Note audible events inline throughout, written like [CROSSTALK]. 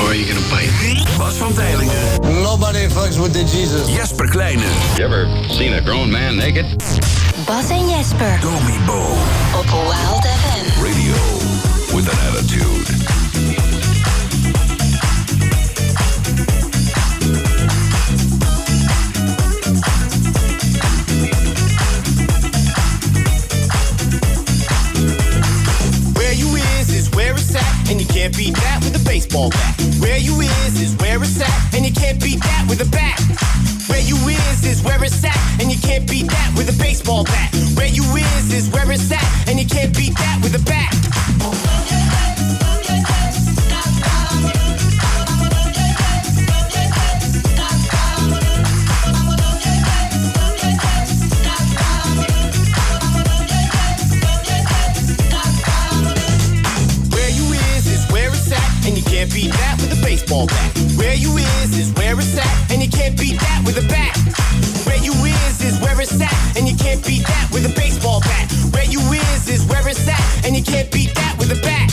Or are you gonna bite? Bas van Tijlingen. Nobody fucks with the Jesus. Jesper Kleine. You ever seen a grown man naked? Bas en Jesper. Domi Bo. Op Wild FM. Radio with an attitude. and you can't beat that with a baseball bat. Where you is is where it's at, and you can't beat that with a bat. Where you is is where it's at, and you can't beat that with a baseball bat. Where you is is where it's at, and you can't beat that with a bat. can't beat that with a baseball bat. Where you is is where it's at, and you can't beat that with a bat. Where you is is where it's at, and you can't beat that with a baseball bat. Where you is is where it's at, and you can't beat that with a bat.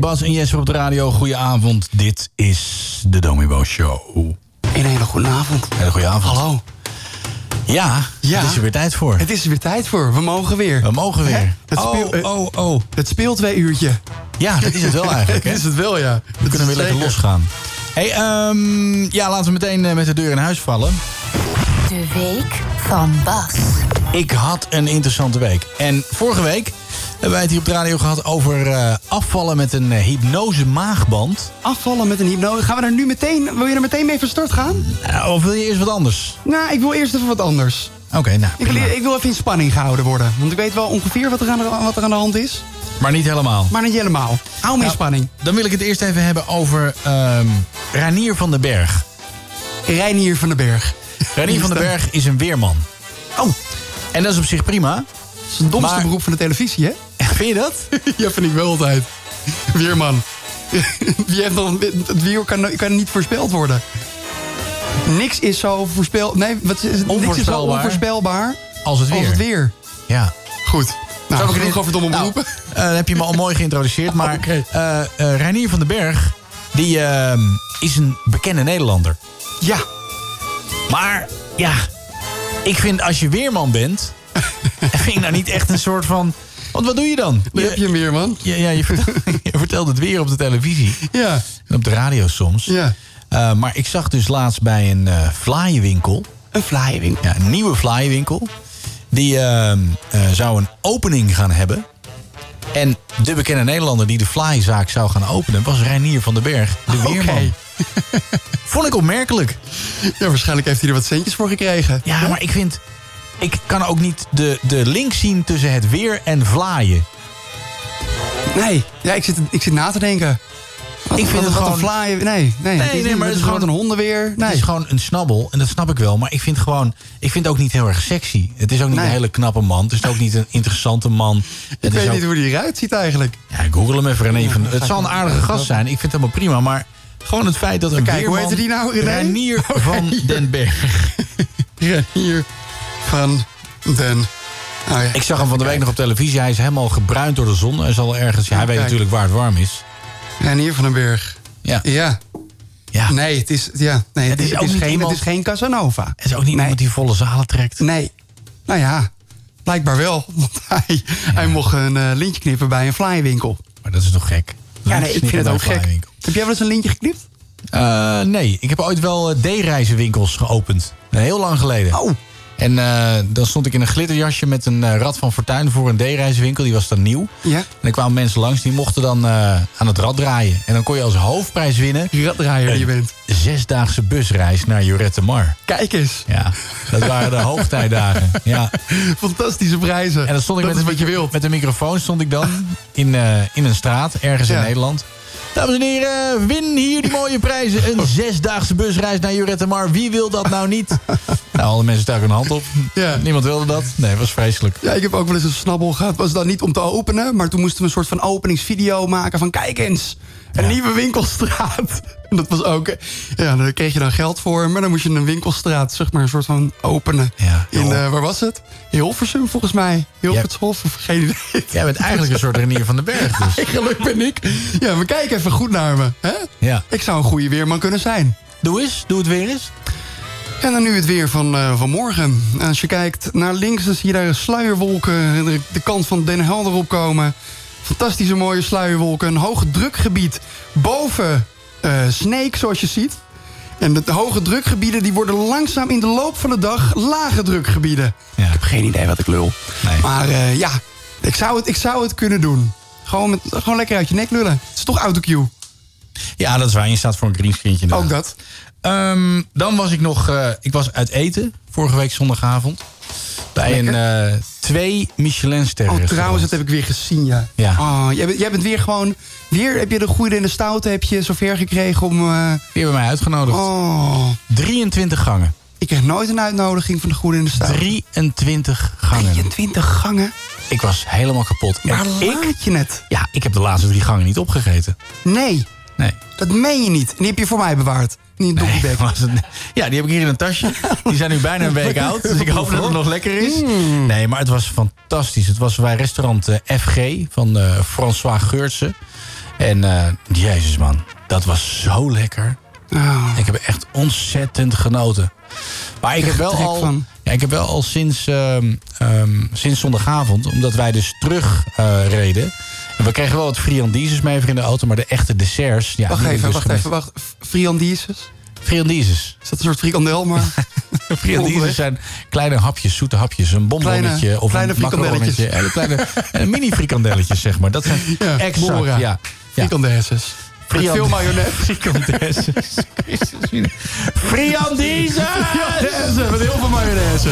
Bas en Jesper op de radio. Goedenavond. Dit is de Domibo Show. Een hele goede avond. Hele goede avond. Hallo. Ja, ja, het is er weer tijd voor. Het is er weer tijd voor. We mogen weer. We mogen weer. Hè? Het oh, speel, uh, oh, oh. Het speelt twee uurtje. Ja, dat is het [LAUGHS] wel eigenlijk. dat is het wel, ja. We dat kunnen weer lekker losgaan. hey, um, ja, laten we meteen met de deur in huis vallen. De week van Bas. Ik had een interessante week. En vorige week hebben wij het hier op de radio gehad over eh, afvallen met een eh, hypnose maagband. Afvallen met een hypnose. Gaan we daar nu meteen, wil je er meteen mee van start gaan? Eh, of wil je eerst wat anders? Nou, ik wil eerst even wat anders. Oké, nou. Ik wil, prima. ik wil even in spanning gehouden worden. Want ik weet wel ongeveer wat er aan de, wat er aan de hand is. Maar niet helemaal. Maar niet helemaal. Hou me in Nou, spanning. Dan wil ik het eerst even hebben over ehm Ranier van den Berg. Reinier van den Berg. Ranier van den Berg is een weerman. Oh, En dat is op zich prima. dat is het domste Maar- beroep van de televisie, hè? [LAUGHS] Vind je dat? [LAUGHS] ja, vind ik wel altijd. Weerman. [LAUGHS] Wie heeft nog, het weer kan, kan niet voorspeld worden. Niks is zo voorspel... Nee, wat, is- niks is zo Onvoorspelbaar. onvoorspelbaar Als het weer. als het weer. Ja. Goed. Nou, Zou ik genoeg dit- over domme Nou, beroepen. eh, dan heb je me al mooi geïntroduceerd. Maar eh [LAUGHS] Oké. eh, Reinier van den Berg die, ehm, is een bekende Nederlander. Ja, Maar ja, ik vind als je weerman bent... [LAUGHS] vind ik nou niet echt een soort van... Want wat doe je dan? daar heb je hem weer, man. ja, ja, je, vertelt, [LAUGHS] [LAUGHS] je vertelt het weer op de televisie. Ja, En op de radio soms. ja. Eh, maar ik zag dus laatst bij een eh vlaaienwinkel... Een flyering. ja, een nieuwe vlaaienwinkel. Die ehm, eh, zou een opening gaan hebben. En de bekende Nederlander die de vlaaienzaak zou gaan openen... was Reinier van den Berg, de weerman. Ah, Oké. Vond ik opmerkelijk. Ja, waarschijnlijk heeft hij er wat centjes voor gekregen. Ja, maar ik vind... Ik kan ook niet de, de link zien tussen het weer en vlaaien. Nee, ja, ik, zit, ik zit na te denken. Wat- vind wat- het wat gewoon- een flyer. Nee, nee, nee, maar het het is is gewoon- gewoon een hondenweer. Het Nee. is gewoon een snabbel, en dat snap ik wel. Maar ik vind, gewoon, ik vind het ook niet heel erg sexy. Het is ook niet Nee. een hele knappe man. Het is ook niet een interessante man. Het [LAUGHS] Ik is weet ook- niet hoe die eruit ziet eigenlijk. Ja, ik google hem even René van... Ja, Het ga zal ik een doen. aardige gast zijn. Ik vind het helemaal prima, maar... Gewoon het feit dat een Kijk, hoe weerman... heette die nou, René? Reinier [LAUGHS] Oké. van [LAUGHS] den Berg. Ja, hier van den. Oh ja. Ik zag hem van de week nog op televisie. Hij is helemaal gebruind door de zon. Hij zal ergens... Ja, hij weet Kijk. natuurlijk waar het warm is. En hier van den Berg. Ja. Ja. ja. Nee, het is, ja, nee, het is is, het ook is niet geen, iemand- het is geen Casanova. Het is ook niet nee. iemand die volle zalen trekt. Nee. Nou ja, blijkbaar wel. [LAUGHS] Want hij, hij mocht een eh, lintje knippen bij een flywinkel. Maar dat is toch gek? Ja, Links nee, ik knippen vind het bij ook gek. vlaaienwinkel. Heb jij wel eens een lintje geknipt? Eh, nee, ik heb ooit wel eh, D-reizenwinkels geopend. Eh, Heel lang geleden. Oh. En eh, dan stond ik in een glitterjasje met een eh, Rad van Fortuin voor een D-reizenwinkel. Die was dan nieuw. Ja. En er kwamen mensen langs die mochten dan eh, aan het rad draaien. En dan kon je als hoofdprijs winnen... Raddraaier die je bent. een zesdaagse busreis naar Jurette Mar. Kijk eens. Ja, dat waren de hoogtijdagen. Ja. Fantastische prijzen. En dan stond ik dat met, is een wat je micro- wilt. met een microfoon stond ik dan in, eh, in een straat, ergens in Ja. Nederland. Dames en heren, win hier die mooie prijzen. [LAUGHS] Een zesdaagse busreis naar Jurette Mar. Wie wil dat nou niet? Nou, alle mensen staken hun hand op. Ja. Niemand wilde dat. Nee, het was vreselijk. Ja, ik heb ook wel eens een snabbel gehad. Was dan niet om te openen, maar toen moesten we een soort van openingsvideo maken van kijk eens, een nieuwe winkelstraat. [LAUGHS] En dat was ook, eh, ja, daar kreeg je dan geld voor, maar dan moest je een winkelstraat, zeg maar, een soort van openen. Ja. In, eh, waar was het? Hilversum volgens mij. Hilvershof of geen idee. [LAUGHS] Jij bent eigenlijk een soort Renier van den Berg dus. [LAUGHS] Eigenlijk ben ik. Ja, maar kijk even goed naar me. Hè? Ja. Ik zou een goede weerman kunnen zijn. Doe eens, doe het weer eens. En dan nu het weer van eh, vanmorgen. Als je kijkt naar links, dan zie je daar sluierwolken de, de kant van Den Helder opkomen. Fantastische mooie sluierwolken. Een hoog drukgebied boven eh Sneek, zoals je ziet. En de hoge drukgebieden die worden langzaam in de loop van de dag lage drukgebieden. Ja. Ik heb geen idee wat ik lul. Nee. Maar eh, ja, ik zou, het, ik zou het kunnen doen. Gewoon, met, gewoon lekker uit je nek lullen. Het is toch autocue. Ja, dat is waar. Je staat voor een greenscreen. Ook dat. Ehm, dan was ik nog... eh, ik was uit eten vorige week zondagavond. Bij een eh, twee Michelinsterren. Oh, trouwens, restaurant. dat heb ik weer gezien, ja. Ja. Oh, jij, bent, jij bent weer gewoon... Weer heb je de goede en de stoute heb je zover gekregen om... eh, Die hebben mij uitgenodigd. oh, 23 gangen. ik kreeg nooit een uitnodiging van de goede en de stoute. 23 gangen. 23 gangen? Ik was helemaal kapot. En Waar ik, laat je het? ja, ik heb de laatste drie gangen niet opgegeten. Nee, Nee. dat meen je niet. En die heb je voor mij bewaard. Niet een Nee, nee, was het- ja, die heb ik hier in een tasje. Die zijn nu bijna een [LAUGHS] week oud. Dus ik hoop dat het nog lekker is. Hmm. Nee, maar het was fantastisch. Het was bij restaurant eh, FG van eh, François Geurtsen. En eh, jezus man, dat was zo lekker. Nou. Ik heb echt ontzettend genoten. Maar ik heb wel trek al, van. ja, ik heb wel al sinds, ehm, ehm, sinds zondagavond, omdat wij dus terug eh, reden. En we kregen wel wat friandises mee even in de auto, maar de echte desserts. Ja, Wacht die heb ik even, dus wacht gemist. even, wacht. F- Friandises? Friandises. [LAUGHS] Is dat een soort frikandel, maar... Friandiezen zijn kleine hapjes, zoete hapjes. Een bonbonnetje Kleine- of kleine een macaronnetje. frikandelletjes. Hele kleine en mini frikandelletjes, zeg maar. Dat zijn [LAUGHS] Ja, exact, Bora. ja. ja. Frikandesses. Met Frikand- veel [LAUGHS] mayonaise. Frikandesses. Christus, wie- Friandiezen! Frikandesses, met heel veel mayonaise.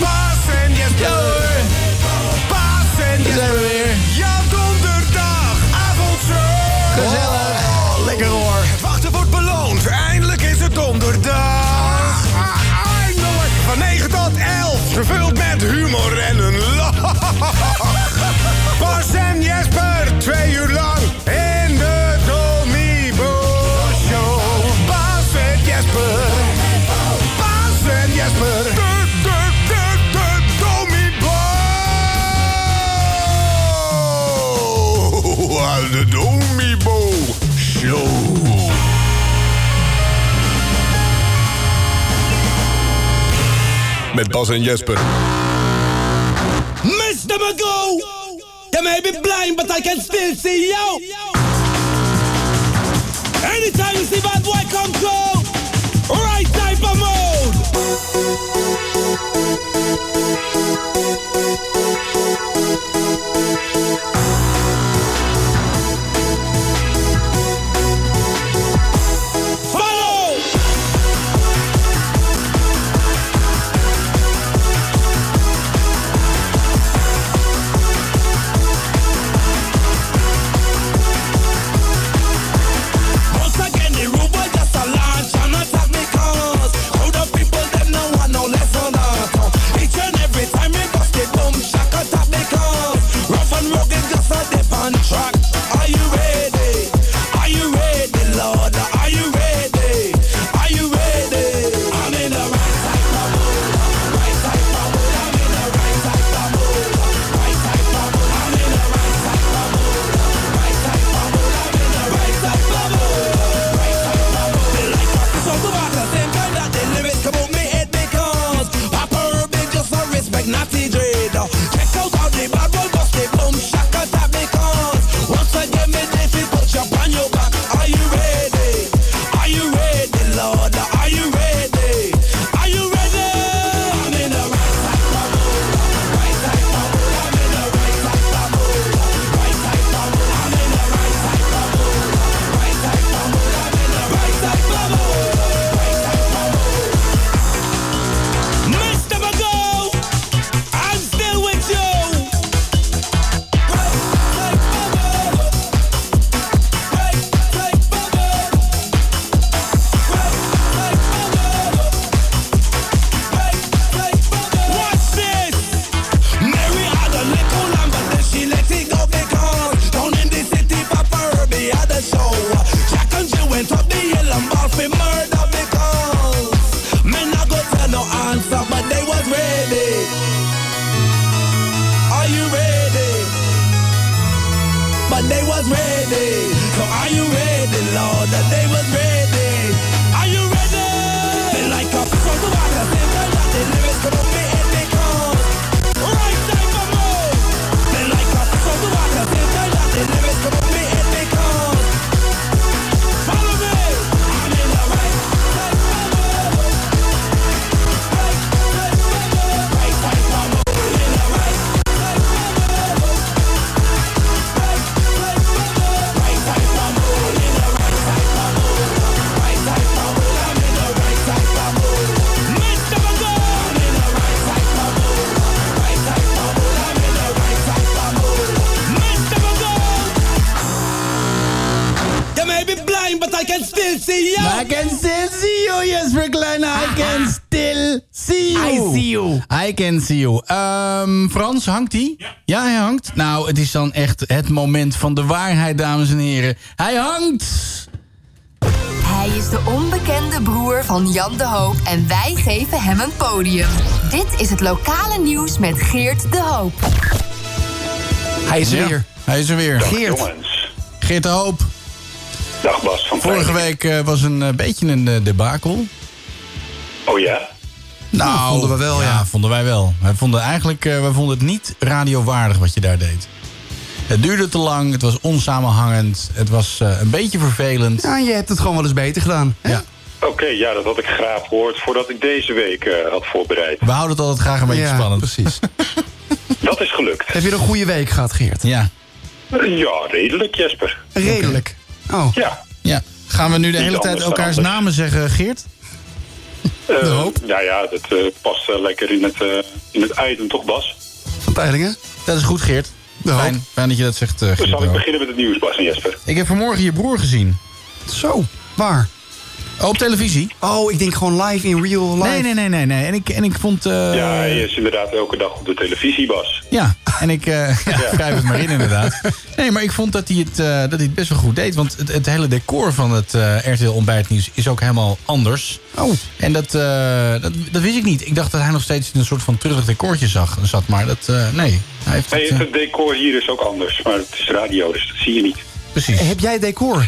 Bas en Jesper. Bas en Daar zijn Jesper. we weer. Ja, donderdag. Avondshow. Gezellig. Oh, lekker hoor. Het wachten wordt beloond. Eindelijk is het donderdag. Ah, Eindelijk. Van 9 tot 11. Gevuld met humor en een lach. [LAUGHS] Bas en Jesper. Twee uur lang. In de Domibo Show. Bas en Jesper. Bas en Jesper. De, de, de, de Domibo. Oh, De Domibo Show. Met Bas en Jesper. Mr. Magoo! You may be blind, but I can still see you! Anytime you see bad boy come through, right type of mode! Follow! Once again, the rumor just a launch and attack me cause How the people them no want no lesson at all. Each and every time me bust the boom shack attack me cause Rough and rugged just a dip on track Are you ready? Are you ready, Lord? Are you ready? Are you ready? I'm in the right type of mood Right type of mood I'm in the right type of mood Right type of mood I'm in the right type of mood Right type of mood I'm in the right type of mood so do I the same kind that they live it. Come on, me head because Papa Ruby just for respect, Natty Dread. Check out how the bad boy bust the boom shack attack because once again me they fi touch up on your back. Are you ready? Are you ready, Lord? Are you ready? Are you ready? I'm in the right type of mood, right type of mood. I'm in the right type of mood, right type of mood. I'm in the right type of mood, right type of mood. I'm in the right type of mood. Mr. Magoo, I'm still with you. Right, right, bubble. Right, right, bubble. Right, right, bubble. Right, right, bubble. Watch this. Mary had a little lamb, but then she let it go because down in the city, Papa Herbie had a show. Jack and Jill went up the hill and bought for murder because men I go tell no answer, but they was ready. Are you ready? But they was ready. So are you ready, Lord? That they was ready. Are you ready? They like a so do I the same time that the lyrics come up me head because right time for more. They like a so do I the same time that the lyrics come up me head because follow me. I'm in the right type of mood. Right type of mood. Right type of mood. I'm in the right type of mood. Right type of mood. Right type of mood. I'm in the right type of mood. Right type of mood. I'm in the right type of mood. Mr. Magoo. I'm in the right type of mood. Right type of mood. I'm in the right type of mood. Mr. Magoo. You may be blind, but I can still see you. I can still see you, Jesper Kleine. I can still see you. I see you. I can see you. Ehm, Frans, hangt hij? Ja. hij hangt. Nou, het is dan echt het moment van de waarheid, dames en heren. Hij hangt! Hij is de onbekende broer van Jan de Hoop en wij geven hem een podium. Dit is het lokale nieuws met Geert de Hoop. Hij is er Ja, weer. Hij is er weer. Geert. Jongens, Geert de Hoop. dag Bas van Vorige Plijn. week eh, was een eh, beetje een eh, debakel. Oh ja? Nou, vonden we wel, ja. vonden wij wel. Wij vonden eigenlijk eh, wij vonden het niet radiowaardig wat je daar deed. Het duurde te lang, het was onsamenhangend, het was eh, een beetje vervelend. Ja, je hebt het gewoon wel eens beter gedaan. hè? Ja. Oké, ja, dat had ik graag gehoord voordat ik deze week eh, had voorbereid. We houden het altijd graag een beetje spannend. Precies. Dat is gelukt. Heb je een goede week gehad, Geert? Ja. Ja, redelijk, Jesper. Redelijk. Oh. Ja. ja. Gaan we nu de Niet hele tijd anders dan elkaars anders. namen zeggen, Geert? Eh, nou ja, dat eh, past eh, lekker in het, eh, in het item, toch, Bas? Van Eilingen? Dat is goed, Geert. Fijn, fijn dat je dat zegt, eh, Dus Geert. zal ik ook. beginnen met het nieuws, Bas en Jesper. Ik heb vanmorgen je broer gezien. Zo, waar? op televisie. Oh, ik denk gewoon live in real life. Nee, nee, nee, nee. nee. En, ik, en ik vond... eh, Ja, hij is inderdaad elke dag op de televisie, Bas. Ja, en ik eh [LAUGHS] ja, wrijf het maar in inderdaad. Nee, maar ik vond dat hij het, eh, dat hij het best wel goed deed. Want het, het hele decor van het eh RTL Ontbijtnieuws is ook helemaal anders. Oh. En dat, eh, dat, dat wist ik niet. Ik dacht dat hij nog steeds in een soort van treurig decortje zag, zat. Maar dat, eh, nee. Hij heeft Nee, het, het, eh, het decor hier is ook anders, maar het is radio, dus dat zie je niet. precies. Heb jij decor?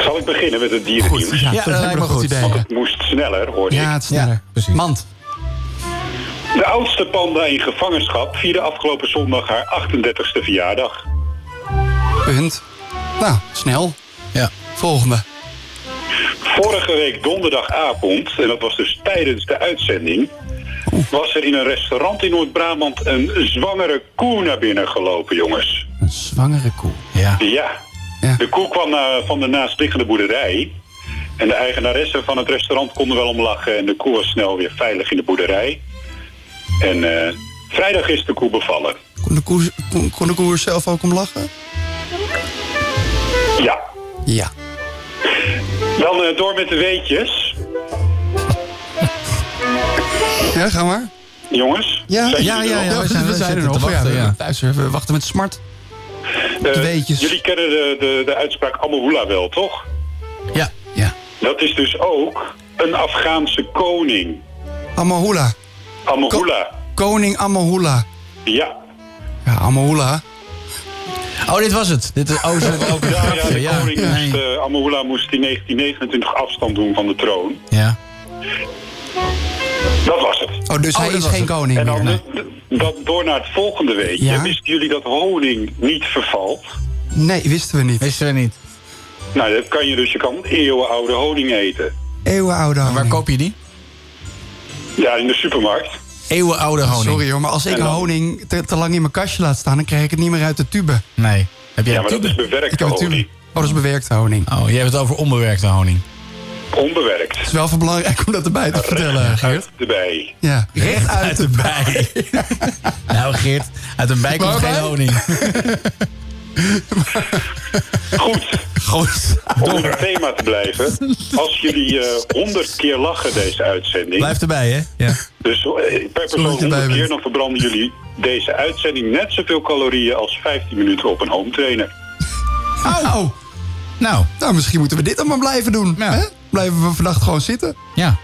Zal ik beginnen met het dierennieuws? ja, Ja, dat dat eh, lijkt lijkt me me goed. goed idee, Want ja. het moest sneller, hoorde Ja, ik. het is sneller. Mand. De oudste panda in gevangenschap vierde afgelopen zondag haar 38e verjaardag. Punt. Nou, snel. Ja. Volgende. Vorige week donderdagavond, en dat was dus tijdens de uitzending... was er in een restaurant in Noord-Brabant een zwangere koe naar binnen gelopen, jongens. Een zwangere koe. Ja. Ja. De koe kwam eh, van de naastliggende boerderij... en de eigenaresse van het restaurant konden wel om lachen... en de koe was snel weer veilig in de boerderij. En eh, vrijdag is de koe bevallen. Kon de koe, kon, kon de koe er zelf ook om lachen? Ja. Ja. Dan eh, door met de weetjes. Ja, ga maar. Jongens, Ja, zijn ja, jullie ja, er ja, nog? we zijn, we zijn er nog. Ja, we, thuis, hè. we wachten met smart. Eh, Jullie kennen de, de, de uitspraak Amahula wel, toch? Ja. ja. Dat is dus ook een Afghaanse koning. Amahula. Amahula. Koning Amahula. Ja. Ja, Amahula. Oh, dit was het. Dit is oh, ze hebben ook een Ja, ja, grapje. de Ja, koning moest, nee. eh, Amahula moest in 1929 afstand doen van de troon. Ja. Dat was het. [LAUGHS] Oh, dus hij is geen koning En meer. dan Nee. d- dat door naar het volgende weekje. Ja. Wisten jullie dat honing niet vervalt? nee, wisten we niet. Wisten we niet. Nou, dat kan je dus. Je kan eeuwenoude honing eten. Eeuwenoude En waar koop je die? Ja, in de supermarkt. Eeuwenoude honing. Ah, Sorry hoor, maar als ik En dan- honing te, te lang in mijn kastje laat staan... dan krijg ik het niet meer uit de tube. Nee. Heb jij Ja, maar dat is Ik bewerkte heb natuurlijk... honing. Oh, dat is bewerkte honing. Oh, jij hebt het over onbewerkte honing. Onbewerkt. Het is wel van belangrijk om dat erbij te vertellen, Geert. Erbij. Ja, recht uit Uit de... een bij. [LAUGHS] nou, Geert, uit een bij komt Waarbij? geen [LAUGHS] honing. Goed. Goed. Om in het thema te blijven. Als jullie eh, honderd keer lachen deze uitzending. Blijf erbij, hè? Ja. Dus eh, per persoon dat je erbij 100 keer. bent. Dan verbranden jullie deze uitzending net zoveel calorieën als 15 minuten op een home trainer. Oh, Nou, nou misschien moeten we dit dan maar blijven doen. Ja. Hè? Blijven we vannacht gewoon zitten? ja.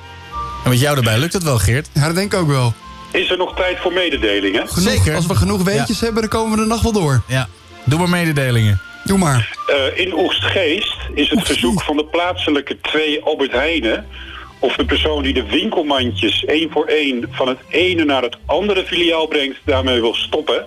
En met jou erbij lukt het wel, Geert. Ja, dat denk ik ook wel. Is er nog tijd voor mededelingen? Genoeg, Zeker. Als we genoeg weetjes hebben, dan komen we de nacht wel door. Ja. Doe maar mededelingen. Doe maar. Eh, in Oegstgeest is het verzoek van de plaatselijke twee Albert Heijnen... of de persoon die de winkelmandjes één voor één... van het ene naar het andere filiaal brengt, daarmee wil stoppen.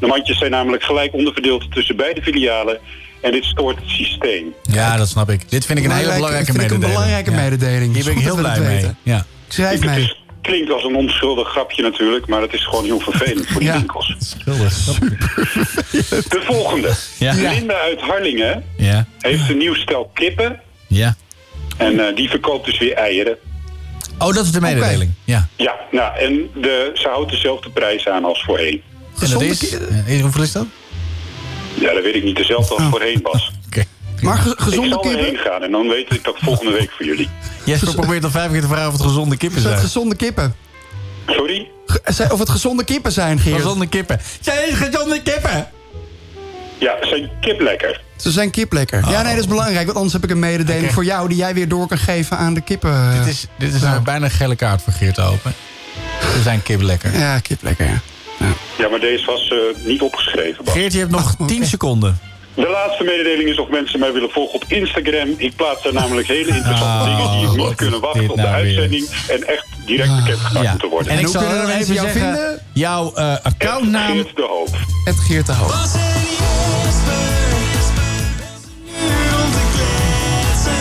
De mandjes zijn namelijk gelijk onderverdeeld tussen beide filialen... en dit stoort het systeem. Ja, dat snap ik. Dit vind ik een hele Belangrijke- belangrijke vind ik een mededeling. belangrijke Ja. mededeling. Hier ben ik Is heel goed dat blij we dat mee. weten. Ja. Ik schrijf Het mij. is, klinkt als een onschuldig grapje natuurlijk... maar het is gewoon heel vervelend voor die Ja. winkels. Schuldig. De volgende. Ja. Linda uit Harlingen Ja. heeft een nieuw stel kippen... Ja. en eh, die verkoopt dus weer eieren. Oh, dat is de mededeling. Ja. Ja, nou, en de, ze houdt dezelfde prijs aan als voorheen. En dat Gezonde is... ki- eh, hoeveel is dat? Ja, dat weet ik niet. Dezelfde Ah. als voorheen [LAUGHS] was. Oké. Maar ge- Ik gezonde zal kippen? erheen gaan en dan weet ik dat volgende week voor jullie. Jesper probeert al vijf keer te vragen of het gezonde kippen Is dat zijn. gezonde kippen? Sorry? Ge- zijn- Of het gezonde kippen zijn, Geert. Gezonde kippen. Zijn het gezonde kippen? Ja, zijn kip lekker. Ze zijn kip Oh. lekker. Ja, nee, dat is belangrijk. Want anders heb ik een mededeling Oké. voor jou... die jij weer door kan geven aan de kippen. Dit is, dit is nou bijna een gele kaart voor Geert open. Ze zijn kip lekker. Ja, kip lekker, ja. Ja, maar deze was eh, niet opgeschreven. Bas. Geert, je hebt nog 10 seconden. De laatste mededeling is of mensen mij willen volgen op Instagram. Ik plaats daar namelijk hele interessante Oh, dingen die je wat niet is kunnen wachten dit op de nou weer? uitzending. En echt direct bekendgemaakt moeten worden. En ik hoe zal kunnen heel mensen even jou zeggen, vinden? jouw eh, accountnaam... Geert de Hoop. Het Geert de Hoog. Jesper. Om te kletsen.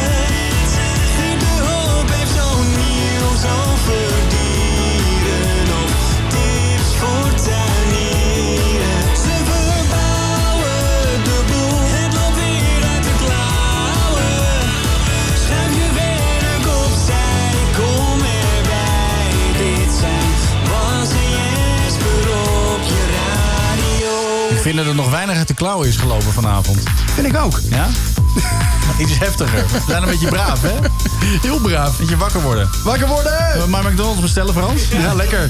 vinden dat nog weinig uit de klauwen is gelopen vanavond. Vind ik ook. Ja? [LAUGHS] Iets heftiger. We zijn een beetje braaf, hè? Heel braaf. Beetje wakker worden. Wakker worden! Zullen we maar McDonald's bestellen, Frans? Ja, lekker.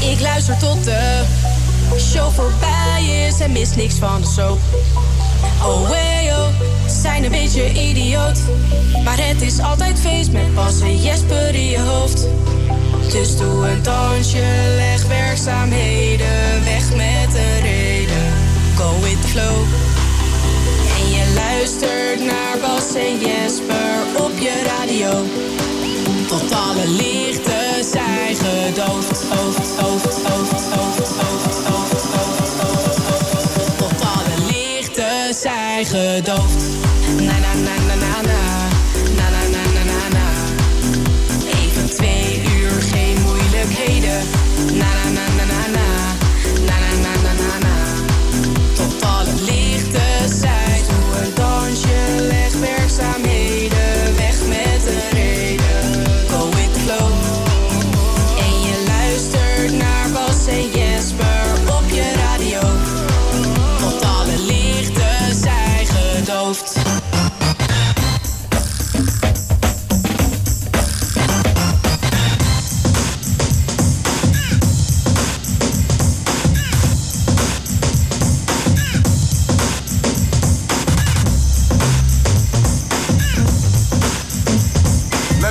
Ik luister tot de show voorbij is en mis niks van de soap. Oh, hey, oh, ze zijn een beetje idioot. Maar het is altijd feest met Bas en Jesper in je hoofd. Dus doe een dansje, leg werkzaamheden weg met de reden. Go with the flow. En je luistert naar Bas en Jesper op je radio. Tot alle lichten zijn gedoofd. Hoofd, hoofd, hoofd, hoofd, hoofd, hoofd, hoofd, hoofd, hoofd. Tot alle lichten zijn gedoofd. Na na na na na na. Na na na na na na. Even twee uur geen moeilijkheden. Na na na na na na. Na na na na na na. Tot alle lichten zijn. Doe een dansje, leg werkzaamheden. Weg met de reden. Go with the flow. En je luistert naar Bas en Jesper op je radio. Tot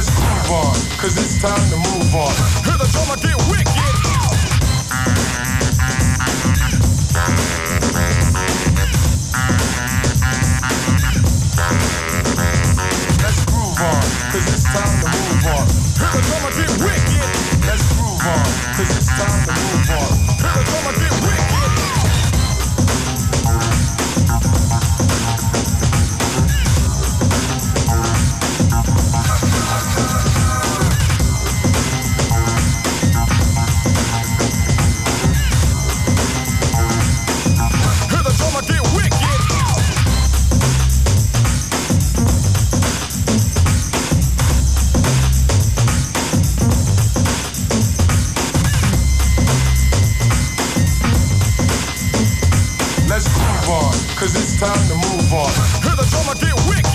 it's time to move on. Hear the drummer get wicked. Let's groove on, cause it's time to move on. Hear the drummer get wicked. Let's groove on, cause it's time to move on. Hear the drummer get wicked. Hear the drummer get wicked. Let's groove on, cause it's time to move on. Hear the drummer get wicked.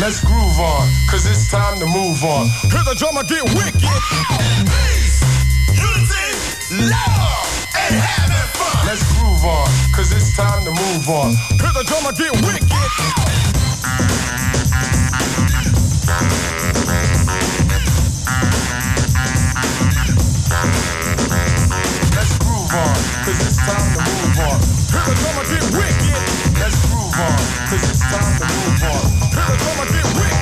Let's groove on, cause it's time to move on. Hear the drummer get wicked. Peace, unity, love, and having fun. Let's groove on, cause it's time to move on. Hear the drummer get wicked. Let's groove on, cause it's time to move on. Hear the drummer get wicked. Let's groove on, cause it's time to move on. Hear the drummer get wicked.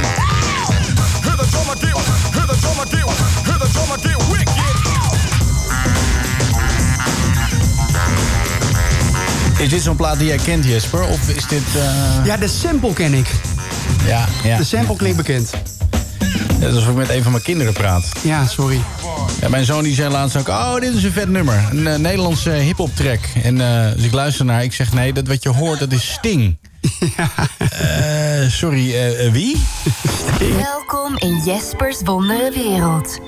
Hear the drummer get, hear the drummer get, hear the drummer get wicked. Is dit zo'n plaat die jij kent, Jesper? Of is dit... eh, Ja, de sample ken ik. Ja, ja. De sample klinkt bekend. Net alsof ik met een van mijn kinderen praat. Ja, sorry. Ja, mijn zoon die zei laatst ook... Oh, dit is een vet nummer. Een eh, Nederlandse hip-hop track. En eh, dus ik luister naar. Ik zeg, nee, dat wat je hoort, dat is [LAUGHS] Sting. Eh, sorry, eh, eh, wie? Welkom in Jespers wondere wereld.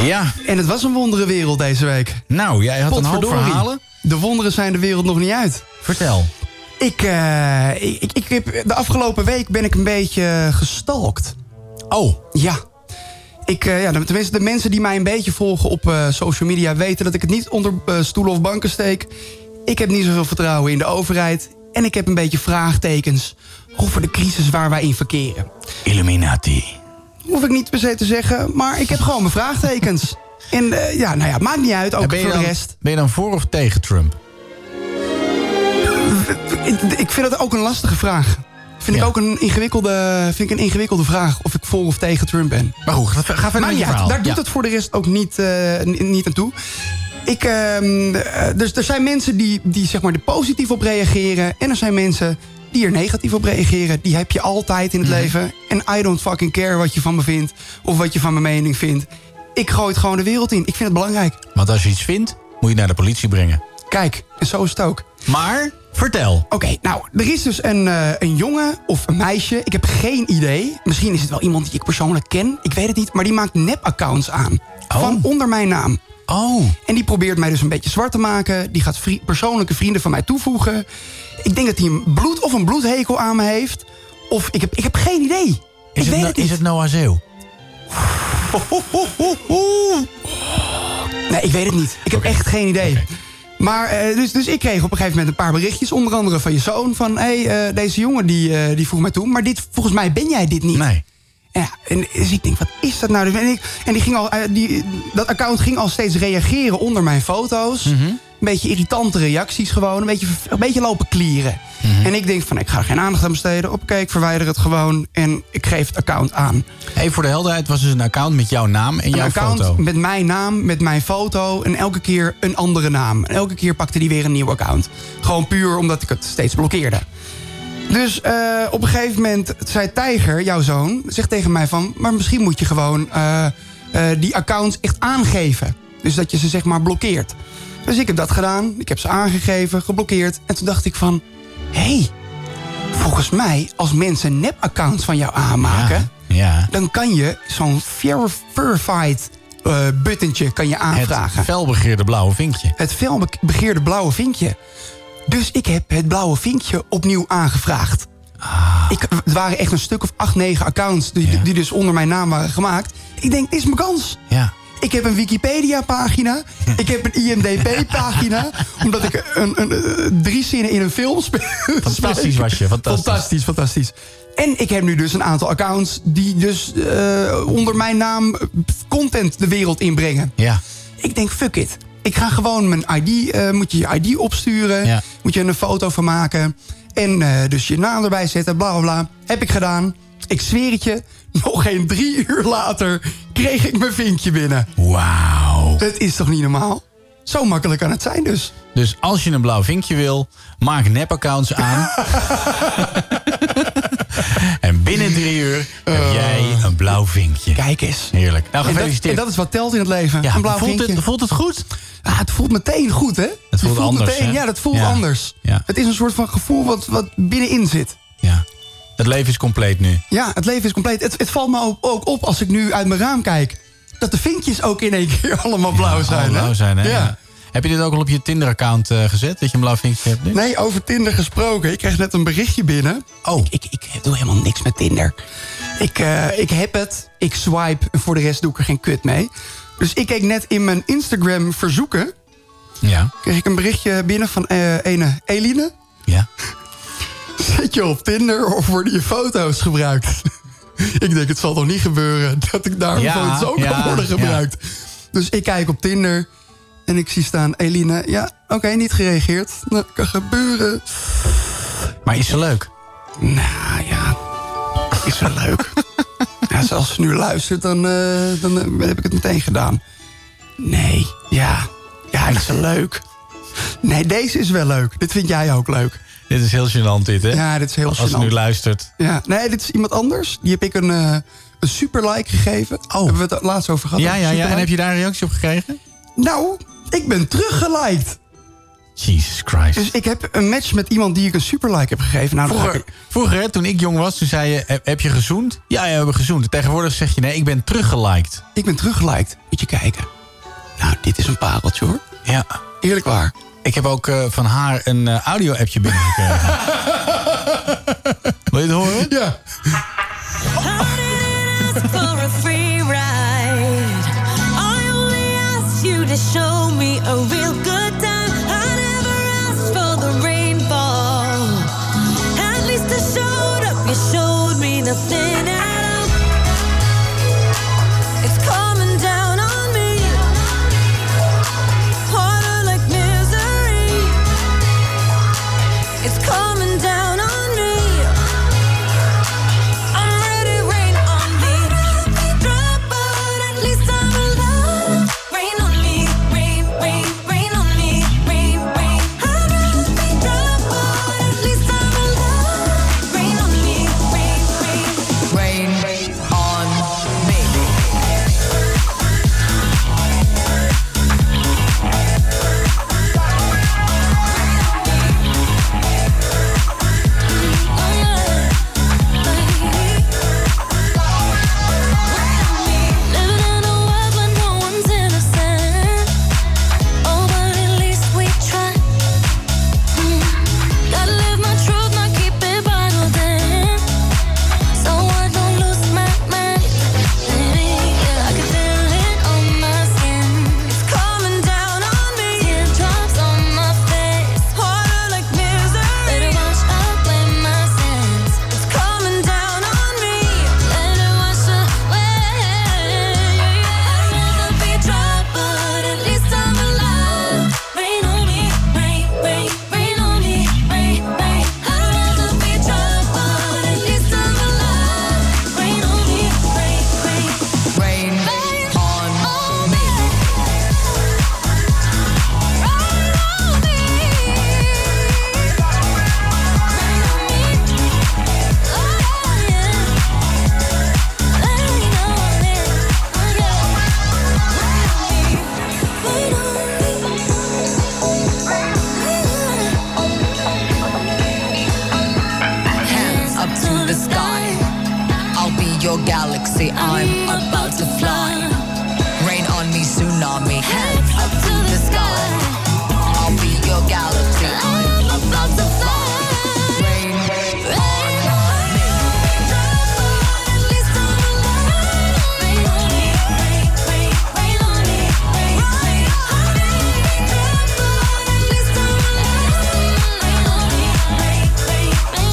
Ja. En het was een wondere wereld deze week. Nou, jij had een hoop verhalen. De wonderen zijn de wereld nog niet uit. Vertel. Ik, eh, ik, ik, ik heb, de afgelopen week ben ik een beetje eh, gestalkt. Oh. Ja. Ik, eh, ja, tenminste, de mensen die mij een beetje volgen op eh, social media weten dat ik het niet onder eh, stoelen of banken steek. Ik heb niet zoveel vertrouwen in de overheid. En ik heb een beetje vraagtekens over de crisis waar wij in verkeren. Illuminati. Hoef ik niet per se te zeggen, maar ik heb gewoon mijn vraagtekens. En eh, ja, nou ja, maakt niet uit, En ook ben je voor de dan- rest. Ben je dan voor of tegen Trump? Ik, ik vind dat ook een lastige vraag. Vind ik ook een ingewikkelde, vind ik een ingewikkelde vraag of ik voor of tegen Trump ben. Maar goed, ga verder met Maar je ja, verhaal. daar doet Ja. het voor de rest ook niet, eh, n- niet aan toe. Ik, ehm, eh, dus er zijn mensen die, die zeg maar er positief op reageren. En er zijn mensen die er negatief op reageren. Die heb je altijd in het Mhm. leven. En I don't fucking care wat je van me vindt. Of wat je van mijn mening vindt. Ik gooi het gewoon de wereld in. Ik vind het belangrijk. Want als je iets vindt, moet je het naar de politie brengen. Kijk, en zo is het ook. Maar, vertel. Oké, nou, er is dus een, eh, een jongen of een meisje. Ik heb geen idee. Misschien is het wel iemand die ik persoonlijk ken. Ik weet het niet. Maar die maakt nep-accounts aan. Van onder mijn naam. Oh. En die probeert mij dus een beetje zwart te maken. Die gaat vri- persoonlijke vrienden van mij toevoegen. Ik denk dat hij een bloed of een bloedhekel aan me heeft. Of ik heb, ik heb geen idee. ik weet het, het niet. Is het Noah Zeeuw? Nee, ik weet het niet. Ik heb echt geen idee. Maar eh, dus, dus ik kreeg op een gegeven moment een paar berichtjes. Onder andere van je zoon. Van, hé, hey, eh, deze jongen die, eh, die vroeg mij toe. Maar dit, volgens mij ben jij dit niet. Nee. Ja, en dus ik denk, wat is dat nou? En, ik, en die ging al, eh, die, dat account ging al steeds reageren onder mijn foto's. Een beetje irritante reacties gewoon. Een beetje, een beetje lopen klieren. En ik denk van, ik ga er geen aandacht aan besteden. Oké, ik verwijder het gewoon. En ik geef het account aan. Even voor de helderheid, was dus een account met jouw naam en een jouw account foto. met mijn naam, met mijn foto en elke keer een andere naam. En elke keer pakte die weer een nieuw account. Gewoon puur omdat ik het steeds blokkeerde. Dus eh, op een gegeven moment zei Tijger, jouw zoon, zegt tegen mij van... maar misschien moet je gewoon eh, eh, die accounts echt aangeven. Dus dat je ze zeg maar blokkeert. Dus ik heb dat gedaan, ik heb ze aangegeven, geblokkeerd. En toen dacht ik van, hé, hey, volgens mij als mensen nep-accounts van jou aanmaken Ja. dan kan je zo'n ver- verified eh buttentje kan je aanvragen. Het felbegeerde blauwe vinkje. Het felbegeerde blauwe vinkje. Dus ik heb het blauwe vinkje opnieuw aangevraagd. Ah. Ik, het waren echt een stuk of acht, negen accounts die, die dus onder mijn naam waren gemaakt. Ik denk, dit is mijn kans. Ja. Ik heb een [LAUGHS] Wikipedia-pagina. Ik heb een IMDb-pagina. omdat ik een, een, eh, drie zinnen in een film speel. Fantastisch was je, fantastisch. Fantastisch, fantastisch. En ik heb nu dus een aantal accounts die dus eh, onder mijn naam content de wereld inbrengen. Ja. Ik denk, fuck it. Ik ga gewoon mijn ID, eh, moet je je ID opsturen. Moet je een foto van maken. En eh, dus je naam erbij zetten, bla bla bla. Heb ik gedaan. Ik zweer het je, [LAUGHS] nog geen drie uur later kreeg ik mijn vinkje binnen. Eh, Wauw. Nou, Dat is toch niet normaal? Zo makkelijk kan het zijn dus. Dus als je een blauw vinkje wil, maak [LAUGHS] nep-accounts aan. en binnen drie uur heb jij een blauw vinkje. Eh. Kijk eens. Heerlijk. Nou, En dat- gefeliciteerd. En dat, is wat telt in het leven. Ja, een blauw voelt het- vinkje. voelt het goed? Ah, het voelt meteen goed, hè? Het voelt anders, meteen, hè? Ja, dat voelt Ja. anders. Ja. Het is een soort van gevoel wat, wat binnenin zit. Het leven is compleet nu. Ja, het leven is compleet. Het, het valt me ook- ook op als ik nu uit mijn raam kijk... dat de vinkjes ook in één keer [LAUGHS] allemaal blauw zijn. Allemaal hè? blauw zijn, hè? Ja. Heb je dit ook al op je Tinder-account eh, gezet? Dat je een blauw vinkje hebt? nu? Nee, over Tinder gesproken. Ik kreeg net een berichtje binnen. Oh. Ik, ik, ik doe helemaal niks met Tinder. Ik, eh, ik heb het. Ik swipe. En voor de rest doe ik er geen kut mee. Dus ik keek net in mijn Instagram verzoeken. Ja. Kreeg ik een berichtje binnen van eh, ene Eline. [LAUGHS] Ja. Zit je op Tinder of worden je foto's gebruikt? [LAUGHS] ik denk, het zal toch niet gebeuren dat ik daar Ja, foto's ook ja, kan worden ja. gebruikt. Dus ik kijk op Tinder en ik zie staan Eline. Ja, oké, niet gereageerd. Dat kan gebeuren. Maar is ze leuk? Nou ja, is wel [LAUGHS] leuk. ja, dus als ze nu luistert, dan, eh, dan eh, heb ik het meteen gedaan. Nee, ja. Ja, is wel leuk. Nee, deze is wel leuk. Dit vind jij ook leuk. Dit is heel gênant, dit, hè? Ja, dit is heel Als ze nu gênant. luistert. Ja, nee, dit is iemand anders. Die heb ik een, eh, een super like gegeven. Oh. Hebben we het laatst over gehad? Ja, over ja, ja. superlike. En heb je daar een reactie op gekregen? Nou, ik ben teruggeliked. Jesus Christ. Dus ik heb een match met iemand die ik een super like heb gegeven. Nou, dan ga Vroeger, ik- vroeger hè, toen ik jong was, toen zei je, heb, heb je gezoend? Ja, ja, we hebben gezoend. Tegenwoordig zeg je, nee, ik ben teruggeliked. Ik ben teruggeliked. Moet je kijken. Nou, dit is een pareltje, hoor. Ja. Eerlijk waar. Ik heb ook eh, van haar een eh, [LAUGHS] audio-appje binnengekregen. Wil je het horen? Ja. for a free ride. I only asked you to show me a real good time. I never asked for the rainfall. At least I showed up. You showed me nothing at all. It's coming down on me. Harder like misery. It's coming down on me. I'm ready, rain on me. Drop out, at least I'm alive. Rain on me, rain, rain, rain on galaxy. I'm about to fly. Rain on me, tsunami. Hands up to the sky. I'll be your galaxy. I'm about to fly. Rain, rain, rain on me.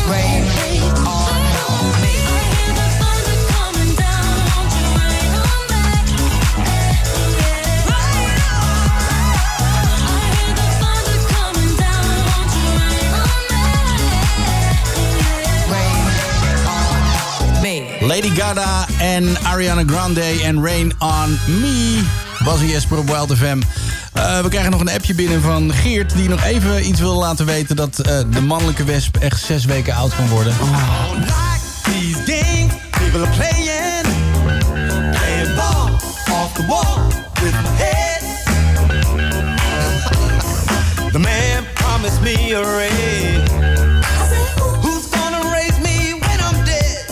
Rain on me. Lady Gaga en Ariana Grande en Rain on Me. Bas en Jesper op Wild FM. Eh, we krijgen nog een appje binnen van Geert... die nog even iets wil laten weten... dat eh, de mannelijke wesp echt zes weken oud kan worden. These games people are playing, playing ball off the wall with my head. the man promised me a raise. I said, Who's gonna raise me when I'm dead?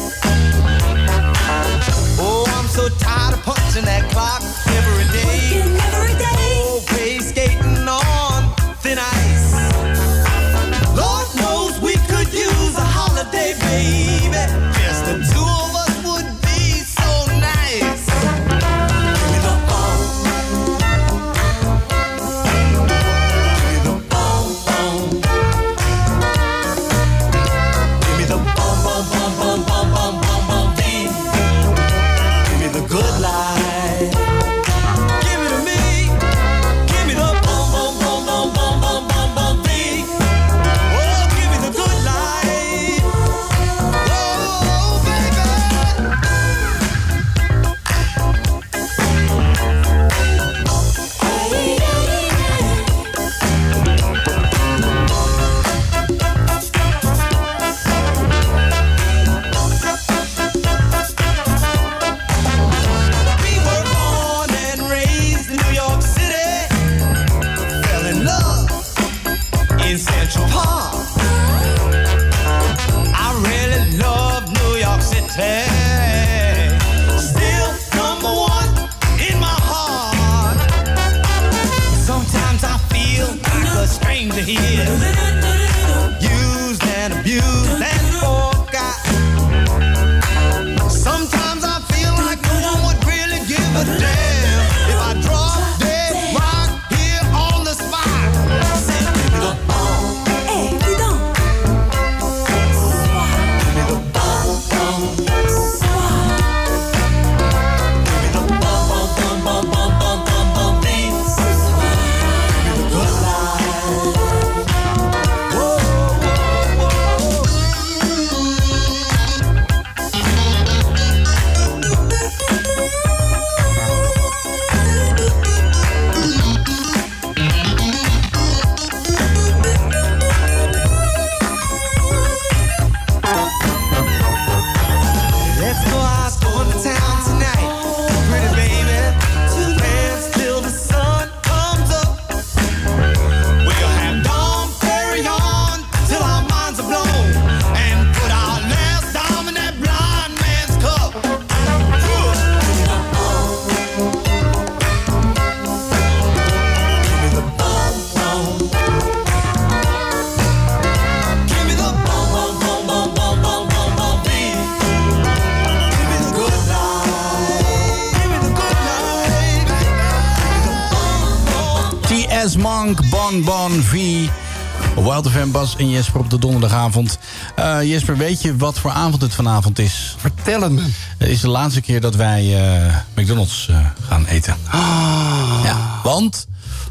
Oh, I'm so tired of punching that clock every day. every day. Always skating on thin ice. Lord knows we could use a holiday, baby. Just the two of us would be so nice. Give me the ball. Give me the ball, ball. Give me the ball, ball, ball, ball, ball, ball, ball, ball, beat. Give me the good life. Give it to me. Give me the ball, ball, ball, ball, ball, ball, ball, ball, beat. Oh, give me the good life. We were born and raised in New York City. Fell in love in Central Park. I really love New York City. Still number one in my heart. Sometimes I feel like a stranger here. Used and abused and forgot. Sometimes I feel like no one would really give a damn if I drop dead rock here on the spot. Say, give me the ball. Give me the ball, ball. Give me the ball, ball, ball, ball, ball, ball, ball, ball, things. Give me the good life. Whoa, whoa, whoa. Let's go out on the town tonight. Pretty baby. Dance till the sun comes up. We'll have dawn carry on till our minds are blown. And put our last dime in that blind man's cup. Give me the ball, ball. Give me the ball, ball, ball, ball, ball, ball, ball, ball, baby. Give me the good life. Give me the good life. T.S. Monk, Bon Bon V. Wild FM, Bas en Jesper op de donderdagavond. Eh, Jesper, weet je wat voor avond het vanavond is? Vertel het me. Het is de laatste keer dat wij eh, McDonald's eh, gaan eten. Ah. Ja, want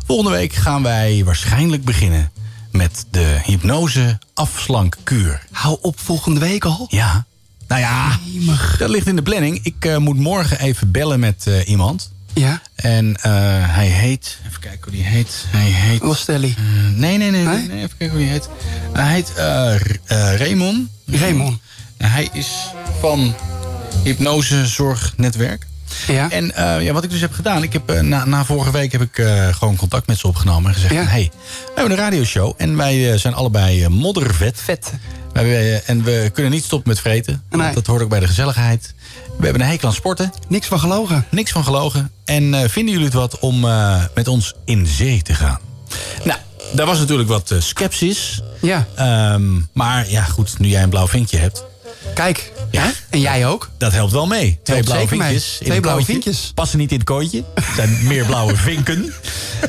volgende week gaan wij waarschijnlijk beginnen... met de hypnose afslankkuur. Hou op volgende week al. Ja. Nou ja, dat ligt in de planning. Ik eh, moet morgen even bellen met eh, iemand. Ja. En eh, hij heet... Even kijken hoe die heet. Hij heet... eh, Lostelli. nee, nee, nee, nee, nee, Even kijken hoe die heet. hij heet eh, R- eh, Raymond. Raymond. En hij is van Hypnose Zorgnetwerk. Ja. En eh, ja, wat ik dus heb gedaan, ik heb, eh, na, na vorige week heb ik eh, gewoon contact met ze opgenomen en gezegd: hey, we hebben een radioshow en wij eh, zijn allebei eh, moddervet. Vet. We Maar we- en we kunnen niet stoppen met vreten. want Dat hoort ook bij de gezelligheid. We hebben een hekel aan sporten. Niks van gelogen. Niks van gelogen. En eh, vinden jullie het wat om eh, met ons in zee te gaan? Nou, daar was natuurlijk wat eh sceptisch. Ehm, Ja. maar ja, goed, nu jij een blauw vinkje hebt. Kijk, ja. en jij ook. Dat helpt wel mee. Twee Helpt blauwe zeker mee. vinkjes. in Twee een blauwe kooitje. Passen niet in het kooitje. Het zijn meer [LAUGHS] blauwe vinken.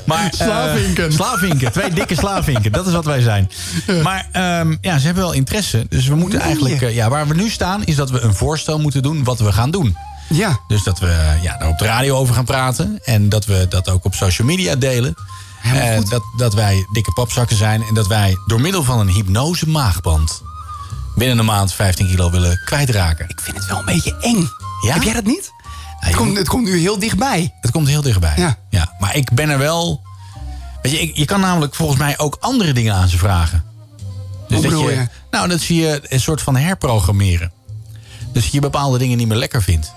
Maar, eh, Slaavinken. slaavinken. Twee dikke slaavinken. Dat is wat wij zijn. Maar ehm, ja, ze hebben wel interesse. Dus we moeten eigenlijk... eh, ja, waar we nu staan is dat we een voorstel moeten doen wat we gaan doen. Ja. Dus dat we eh, ja, daar op de radio over gaan praten. En dat we dat ook op social media delen. Eh, dat, dat wij dikke papzakken zijn. En dat wij door middel van een hypnose maagband... binnen een maand 15 kilo willen kwijtraken. Ik vind het wel een beetje eng. Ja? Nou, Heb jij dat niet? het, komt, het komt nu heel dichtbij. Het komt heel dichtbij. Ja. maar ik ben er wel. Weet je, ik, je kan namelijk volgens mij ook andere dingen aan ze vragen. Dus Hoe dat bedoel je? Nou, dat zie je een soort van herprogrammeren. Dus dat je bepaalde dingen niet meer lekker vindt.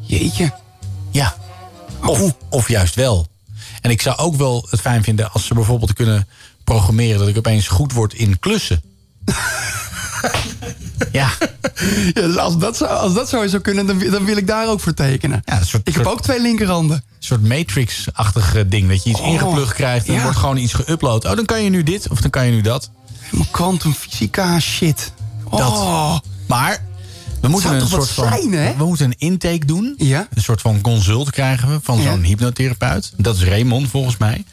Jeetje. Ja. Of, of juist wel. En ik zou ook wel het fijn vinden als ze bijvoorbeeld kunnen programmeren dat ik opeens goed word in klussen. ja. [LAUGHS] Ja, dus als, dat zo, als dat zo zou kunnen, dan, wi- dan wil ik daar ook voor tekenen. ik heb soort- ook twee linkerhanden. Een soort Matrix-achtig eh, ding. Dat je iets Oh, ingeplugd krijgt en ja. wordt gewoon iets geüpload. Oh, dan kan je nu dit of dan kan je nu dat. Helemaal kwantumfysica shit. Oh. Dat. Maar we moeten zou een toch wat soort van. zijn, hè? We moeten een intake doen. Een soort van consult krijgen we van Ja. zo'n hypnotherapeut. Dat is Raymond volgens mij.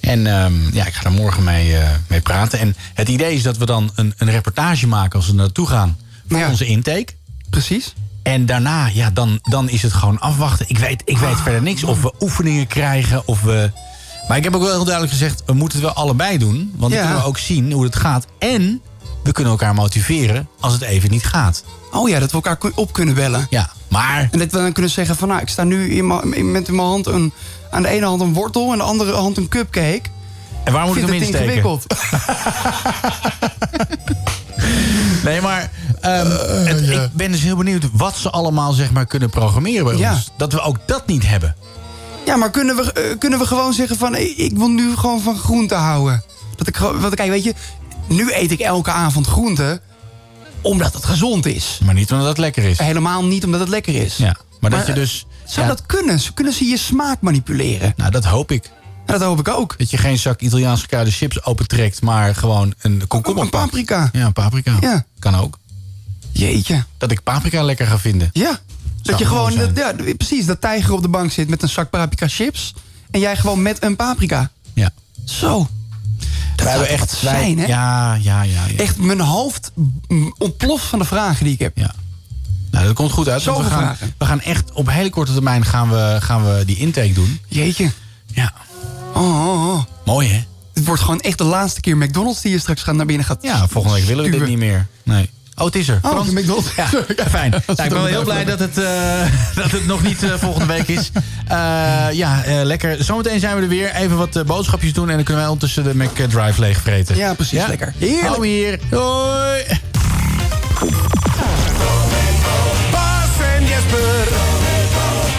En ehm, ja, ik ga daar morgen mee, eh, mee praten. En het idee is dat we dan een, een reportage maken als we naartoe gaan van onze intake. Precies. En daarna, ja, dan, dan is het gewoon afwachten. Ik weet, ik Ah. weet verder niks. Of we oefeningen krijgen, of we... Maar ik heb ook wel heel duidelijk gezegd... we moeten het wel allebei doen. Want dan Ja. kunnen we ook zien hoe het gaat. En we kunnen elkaar motiveren als het even niet gaat. Oh ja, dat we elkaar ku- op kunnen bellen. Ja, maar... En dat we dan kunnen zeggen van, nou, ik sta nu in mijn- in- met in mijn hand een, aan de ene hand een wortel... en aan de andere hand een cupcake. En waar moet Vind ik hem het insteken? ingewikkeld. [LAUGHS] Nee, maar ehm, Eh, het- ik ben dus heel benieuwd... wat ze allemaal zeg maar, kunnen programmeren bij Ja. ons. Dat we ook dat niet hebben. Ja, maar kunnen we, eh, kunnen we gewoon zeggen van... ik ik wil nu gewoon van groente houden. Dat ik gewoon, want kijk, weet je... Nu eet ik elke avond groente omdat het gezond is. Maar niet omdat het lekker is. Helemaal niet omdat het lekker is. Ja, maar dat je dus- eh, Zou ja. dat kunnen? Zo kunnen ze je smaak manipuleren? Nou, dat hoop ik. Dat hoop ik ook. Dat je geen zak Italiaanse kruiden chips opentrekt... maar gewoon een komkommer pakt. Paprika. Ja, paprika. Ja. Kan ook. Jeetje. Dat ik paprika lekker ga vinden. Ja. Dat Zou je mooi gewoon, zijn. dat, ja, precies, dat tijger op de bank zit met een zak paprika chips. En jij gewoon met een paprika. Ja. Zo. Dat zou echt wat wij- zijn, hè? Ja, ja, ja. ja. Echt, mijn hoofd mm, ontploft van de vragen die ik heb. Ja. Nou, dat komt goed uit. want Zoveel we, gaan, vragen. we gaan echt op hele korte termijn gaan we, gaan we die intake doen. Jeetje. Ja. Oh, oh, oh. Mooi, hè? Het wordt gewoon echt de laatste keer McDonald's die je straks gaat naar binnen gaat. Ja, volgende week willen we dit stuwen. niet meer. Nee. Oh, het is er. Oh, Frans. de McDonald's. [LAUGHS] Ja, Sorry. fijn. Dat Nou, ik ben wel heel blij dat het, eh, [LAUGHS] dat het nog niet eh, volgende week is. Eh, ja, eh, lekker. Zometeen zijn we er weer. Even wat eh, boodschapjes doen. En dan kunnen wij ondertussen de McDrive leegvreten. Ja, precies. Lekker. Heerlijk. Hou hier. Hoi. Bas en Jesper.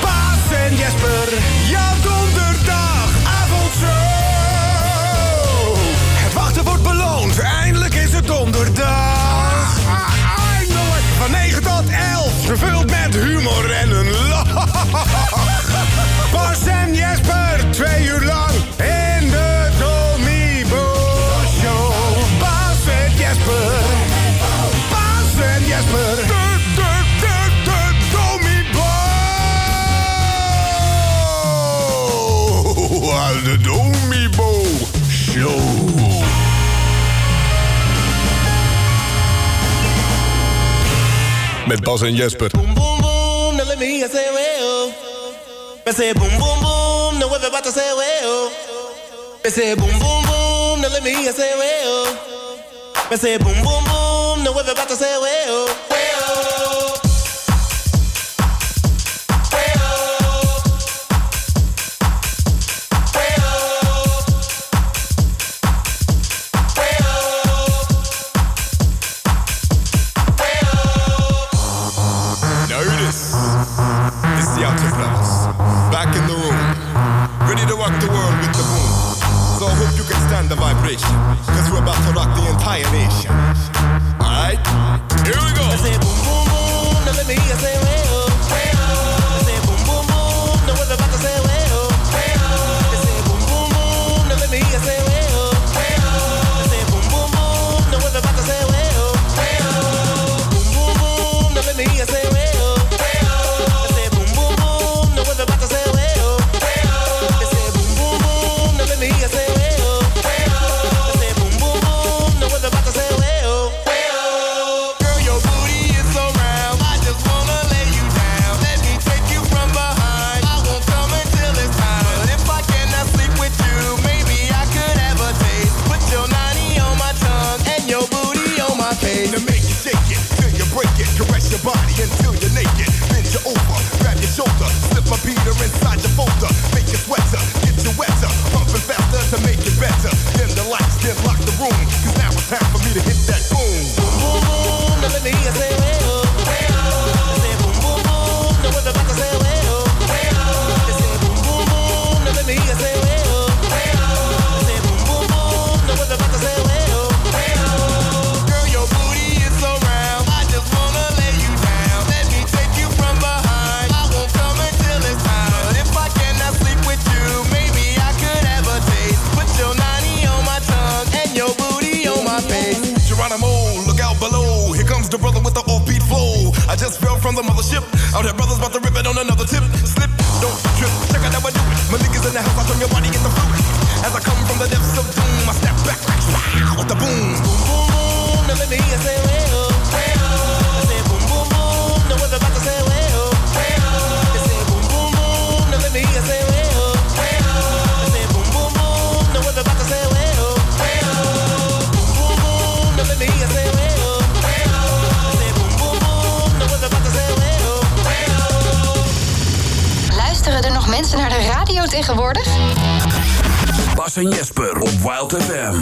Bas en Jesper. Jouw donderdagavondshow. Het wachten wordt beloond. Eindelijk is het donderdag. Eindelijk. Van 9 tot 11. Gevuld met humor en een lach. Bas en Jesper. Twee uur lang. In de Tommy Boy Show. Bas en Jesper. Bas en Jesper. De, de, de, de Domi Bo. Oh, De Domi Bo Show. Met Bas en Jesper. boom, boom, now let me hear you say well. Me say boom, boom, boom, now everybody say well. Me say boom, boom, boom, now let me hear you say well. Me say boom, boom, boom, now everybody say well. Well. Well. Well. Well. Notice. It's the Outlaws. Back in the room. Ready to rock the world with the boom. So I hope you can stand the vibration. Cause we're about to rock the entire nation. Alright? Here we go. I say boom boom boom, now let me hear you say way oh, way oh. I say boom boom boom, now what about to say way oh, way oh. I say boom boom boom, now let me hear you say way oh, way oh. I say boom boom boom, now what about to say way oh, way oh. Boom boom boom, now let me hear you say way oh, way oh. I say boom boom boom, now what about to say way oh, way oh. I say boom boom boom, now let me hear you say way oh, way oh. I say boom boom boom, now what about to say way oh, way oh. Girl, your booty is so round. I just wanna lay you down. Let me take you from behind. I won't come until it's time. But if I cannot sleep with you, maybe I could have a taste. Put your 90 on my tongue and your booty on my face. To make you shake it, till you break it, caress your body until you're naked. Bend you over, grab your shoulder, slip my beater inside your folder, make you sweater, get you wetter, pumping faster to make it better. Dim the lights, then lock the room, cause now it's time for me to hit that boom. Boom boom, now let me hear you say way oh, way oh. I say boom boom boom, now what about to say way oh, way oh. I say boom boom boom, now let me hear you say way oh, way oh. I say boom boom boom, now what about to say way oh, way oh. Girl, your booty is so round, I just wanna lay you down. Let me take you from behind, I won't come until it's time. But if I cannot sleep with you, maybe I could have a taste. Put your 90 on my tongue and your booty on my face. Geronimo, look out below. Here comes the brother with the offbeat flow. I just fell from the mothership. Out here, brothers about to rip it on another tip. Slip, don't trip. Check out how I do it. My niggas in the house, I turn your body into fluid. As I come from the depths of doom, I step back like wow, with the boom. Boom boom, now let me hear you say way oh, way oh. I say boom boom boom, now what about to say way oh, way oh. I say boom boom boom, now let me hear you say way oh, way oh. I say boom boom boom, now what about to say way oh, way oh. Boom boom boom, now let me hear you say way oh, way oh. I say boom boom boom, now what about to say way oh, way oh. Luisteren er nog mensen naar de radio tegenwoordig? Bas en Jesper op Wild FM.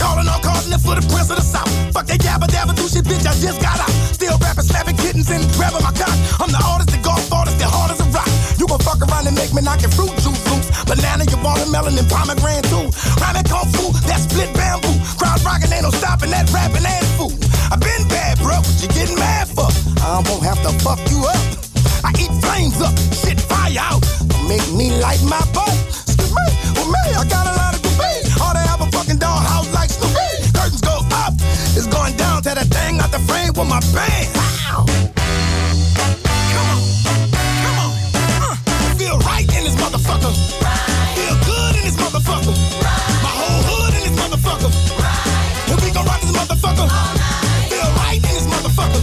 Calling all cars left for the prince of the south. Fuck that yabba dabba do shit, bitch. I just got out. Still rapping, slapping kittens and grabbing my cock. I'm the artist, the golf artist, the hard as a rock. You gon' fuck around and make me knock your fruit juice loops. Banana, your watermelon, and pomegranate too. Rhyming kung fu, that split bamboo. Crowd rocking, ain't no stopping that rapping ass fool. I been bad, bro. What you getting mad for? I won't have to fuck you up. I eat flames up, shit fire out. Make me light my butt. Excuse me, with me, I got a lot of debate. All they have a fucking dollhouse like Snoopy. Curtains go up, it's going down. Tear that thing out the frame with my band. Wow. Come on, come on. Huh. Feel right in this motherfucker. Feel good in this motherfucker. My whole hood in this motherfucker. And we gon' rock this motherfucker. Feel right in this motherfucker.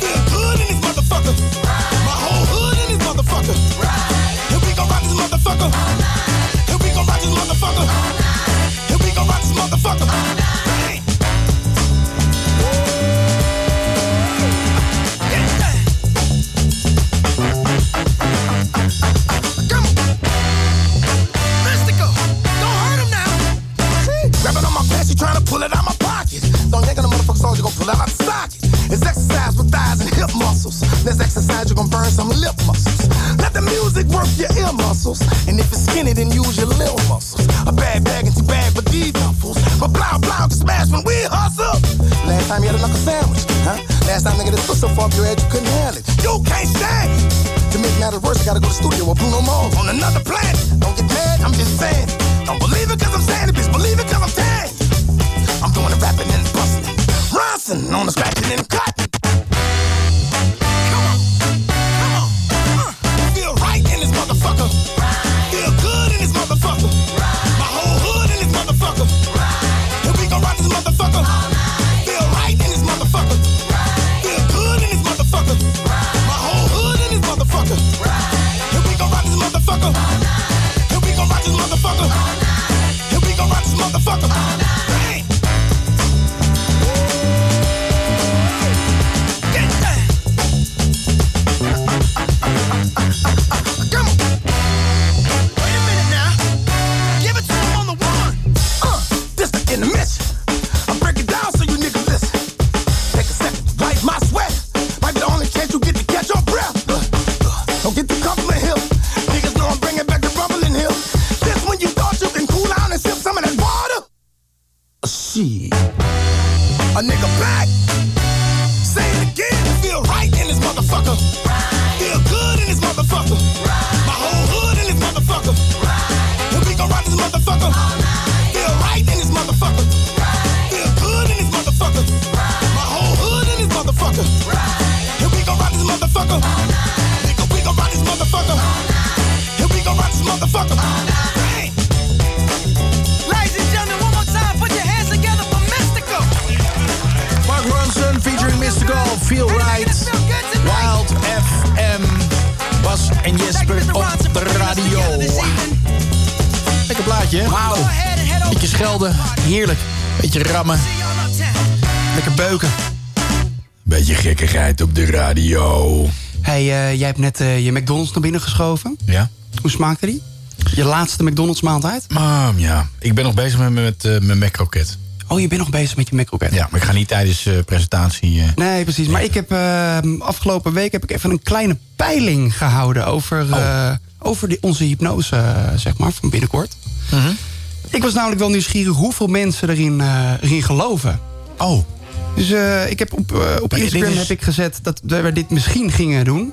Feel good in this motherfucker. My whole hood in this motherfucker. And we gon' rock this motherfucker. And we gon' rock this motherfucker. And we gon' rock this motherfucker. Hey. Mystical. Don't hurt him now. Grabbing on my pants, she trying to pull it out my pocket. Don't yank on the motherfucking soldier, gonna pull it out the socket. It's exercise with thighs and hip muscles. This exercise, you're gonna burn some lip muscles. Let the music work your ear muscles. And if it's skinny, then use your little muscles. A bad bag and two bag for these duffels. But blah, blah, can smash when we hustle. Last time you had a knuckle sandwich, huh? Last time nigga, this was so far up your head, you couldn't handle it. You can't stand it. To make matters worse, I gotta go to the studio with Bruno Mars on another planet. Don't get mad, I'm just saying. it. Don't believe it cause I'm saying it, bitch. Believe it cause I'm telling you. I'm doing the rapping and busting. Ronson on the scratching and cutting. Come on, come on. Huh. Feel right in this motherfucker. Feel good in this motherfucker. My whole hood in this motherfucker. And we gon' rock this motherfucker. Feel right in this motherfucker. Feel good in this motherfucker. My whole hood in this motherfucker. And we gon' rock this motherfucker. And we gon' rock this motherfucker. And we gon' rock this motherfucker. Bang. Uh, Uh, Uh, je. Wauw. Beetje schelden. Heerlijk. Beetje rammen. Lekker beuken. Beetje gekkigheid op de radio. hey, eh, jij hebt net eh, je McDonald's naar binnen geschoven. Ja. Hoe smaakte die? Je laatste McDonald's maaltijd? Mam, ja. Ik ben nog bezig met, met eh, mijn Mac-kroket. Oh, je bent nog bezig met je Mac-kroket? Ja, maar ik ga niet tijdens eh, presentatie... eh, Nee, precies. Maar ik heb eh, afgelopen week heb ik even een kleine peiling gehouden over, Oh. eh, over die, onze hypnose, eh, zeg maar, van binnenkort. Mhm. Ik was namelijk wel nieuwsgierig hoeveel mensen erin, eh, erin geloven. Oh. Dus eh, ik heb op, eh, op Maar dit Instagram is- heb ik gezet dat we dit misschien gingen doen.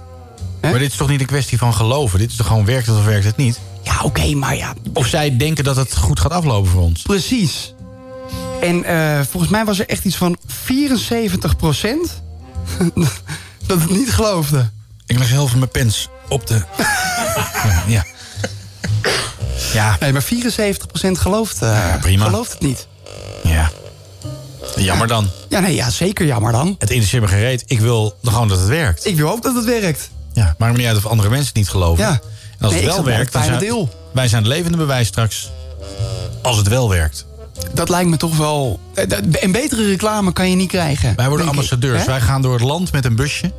Maar dit is toch niet een kwestie van geloven? Dit is toch gewoon werkt het of werkt het niet? Ja, oké, maar ja... Of zij denken dat het goed gaat aflopen voor ons. Precies. En eh, volgens mij was er echt iets van 74 [LAUGHS] dat het niet geloofde. Ik leg heel veel mijn pens [LAUGHS] op de... ja. Ja. Nee, maar 74 gelooft, eh, prima. gelooft het niet. Ja. Jammer dan. Ja, nee, ja, zeker jammer dan. Het interesseert me gereed. Ik wil gewoon dat het werkt. Ik wil ook dat het werkt. Ja. Maakt me niet uit of andere mensen het niet geloven. Ja. En als Nee, ik zat het wel bij werkt, het dan zijn fijne deel. wij zijn het levende bewijs straks. Als het wel werkt. Dat lijkt me toch wel... eh, dat- Een betere reclame kan je niet krijgen. Wij worden ambassadeurs. Wij gaan door het land met een busje.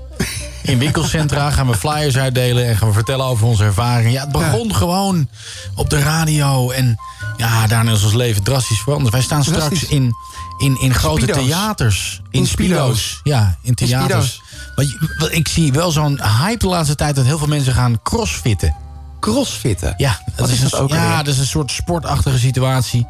In winkelcentra gaan we flyers uitdelen en gaan we vertellen over onze ervaring. Ja, het begon gewoon op de radio. En ja, daarna is ons leven drastisch veranderd. Wij staan straks Drastisch. in, in, in grote Speedo's. theaters. In, In spilo's. speedo's. Ja, in In theaters. speedo's. Want je- wel, ik zie wel zo'n hype de laatste tijd dat heel veel mensen gaan crossfitten. Crossfitten? Ja, dat Wat is, is een, dat ook ja, alweer? dat is een soort sportachtige situatie.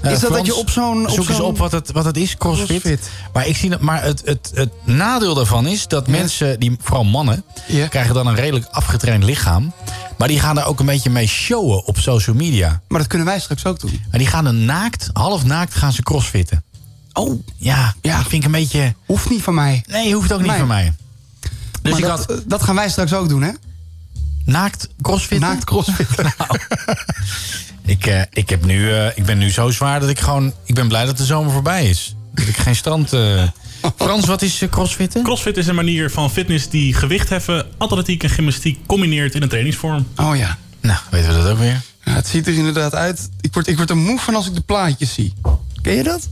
Eh, Is dat dat Frans, je op zo'n- op Zoek eens zo'n- op wat het, wat het is, crossfit. Maar, ik zie dat, maar het, het, het nadeel daarvan is dat mensen, die, vooral mannen... krijgen dan een redelijk afgetraind lichaam. Maar die gaan daar ook een beetje mee showen op social media. Maar dat kunnen wij straks ook doen. Maar die gaan dan naakt, half naakt, gaan ze crossfitten. Oh. Ja, dat vind ik een beetje... Hoeft niet van mij. Nee, hoeft ook niet van mij. Dus Maar ik dat, had eh, dat gaan wij straks ook doen, hè? naakt crossfitten. Nou, Naakt [LAUGHS] crossfitten. Ik, eh, ik, heb nu, eh, ik ben nu zo zwaar dat ik gewoon... Ik ben blij dat de zomer voorbij is. Dat ik geen [LAUGHS] strand... eh, Frans, wat is eh, crossfitten? Crossfit is een manier van fitness die gewicht heffen, atletiek en gymnastiek combineert in een trainingsvorm. Oh ja. Nou, weten we dat ook weer. Ja, het ziet er inderdaad uit. Ik word, ik word er moe van als ik de plaatjes zie. Ken je dat?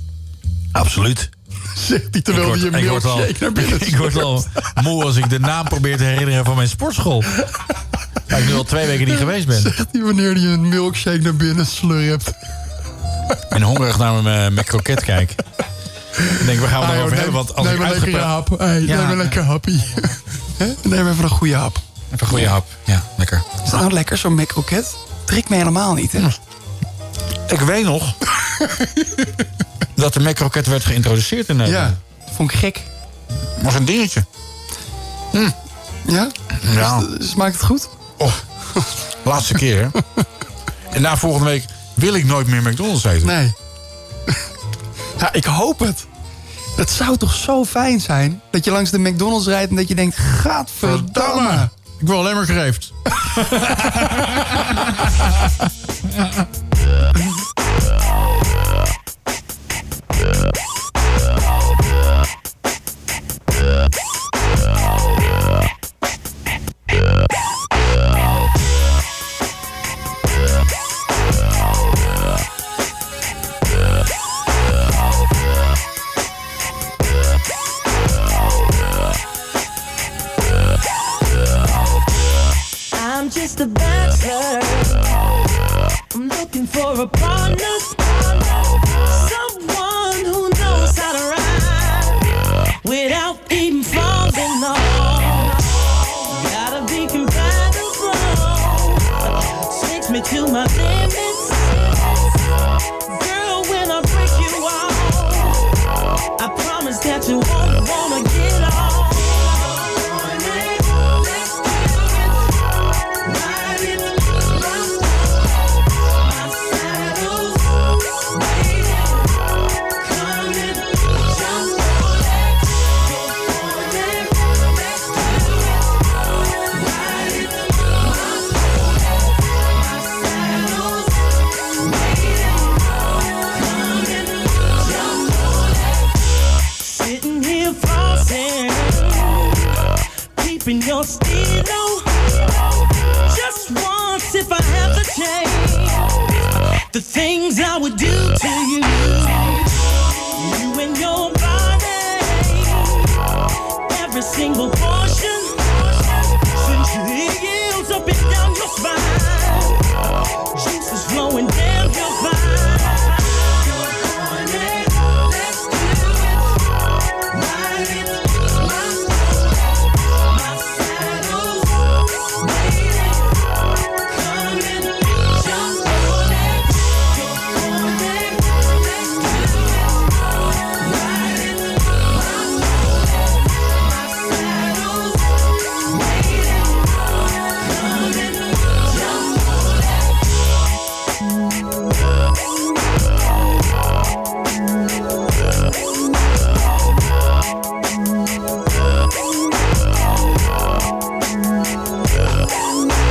[LAUGHS] Absoluut. Zegt hij terwijl hij Ik je word- [LAUGHS] ik word al- milkshake naar binnen [LAUGHS] Ik word al moe als ik de naam probeer te herinneren van mijn sportschool. Waar ik nu al twee weken niet geweest ben. Zegt hij wanneer hij een milkshake naar binnen slurpt. En hongerig naar mijn, mijn kroket kijk. Ik denk, we gaan het Ah, joh, erover neem- hebben? Want als neem ik een lekkere uitgepraat... hap. Hey, Ja. Neem een lekker [LAUGHS] happie. Hè? neem even een goede hap. Even een goede hap. Ja, lekker. Is dat nou lekker, zo'n macroket? Trek me helemaal niet, hè? Hm. Ik weet nog dat de macroket werd geïntroduceerd in Nederland. Ja, vond ik gek. was een dingetje. Hm. Ja? Ja. S- Smaakt het goed? Oh, [LAUGHS] laatste keer. hè? En na volgende week wil ik nooit meer McDonald's eten. Nee. Ja, ik hoop het. Het zou toch zo fijn zijn dat je langs de McDonald's rijdt en dat je denkt, Verdamme. gadverdamme. Ik wil alleen maar gereefd. [LAUGHS] [LAUGHS] I'm just a bachelor. I'm looking for a partner. Someone who knows how to ride without even falling off. Gotta be compatible. Takes me to my limits. Girl, when I break you off, I promise that you won't wanna get off. Let's Sitting here frozen, keeping your stilo. Just once, if I have the chance, The things I would do to you. You and your body. Every single portion. Send chills up and down your spine. Juices flowing down your spine.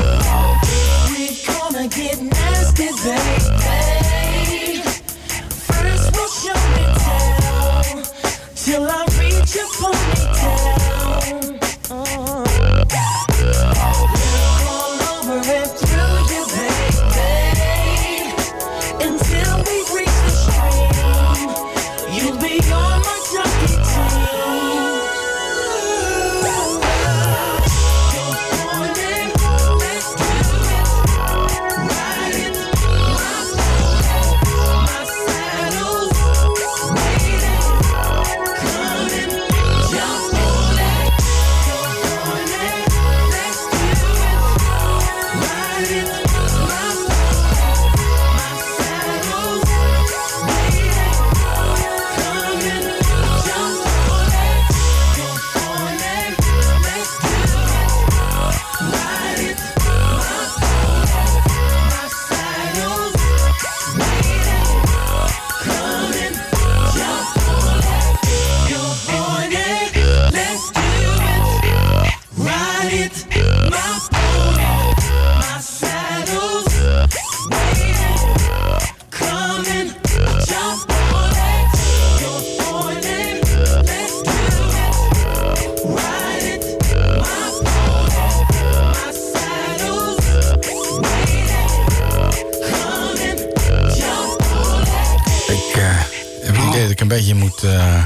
We're gonna get nasty, baby. First we'll show me down till I reach your ponytail. All over and through you, baby. Until we reach the stream, you'll be on my jockey team. Good morning, let's Ik eh, heb het idee dat ik een beetje moet eh,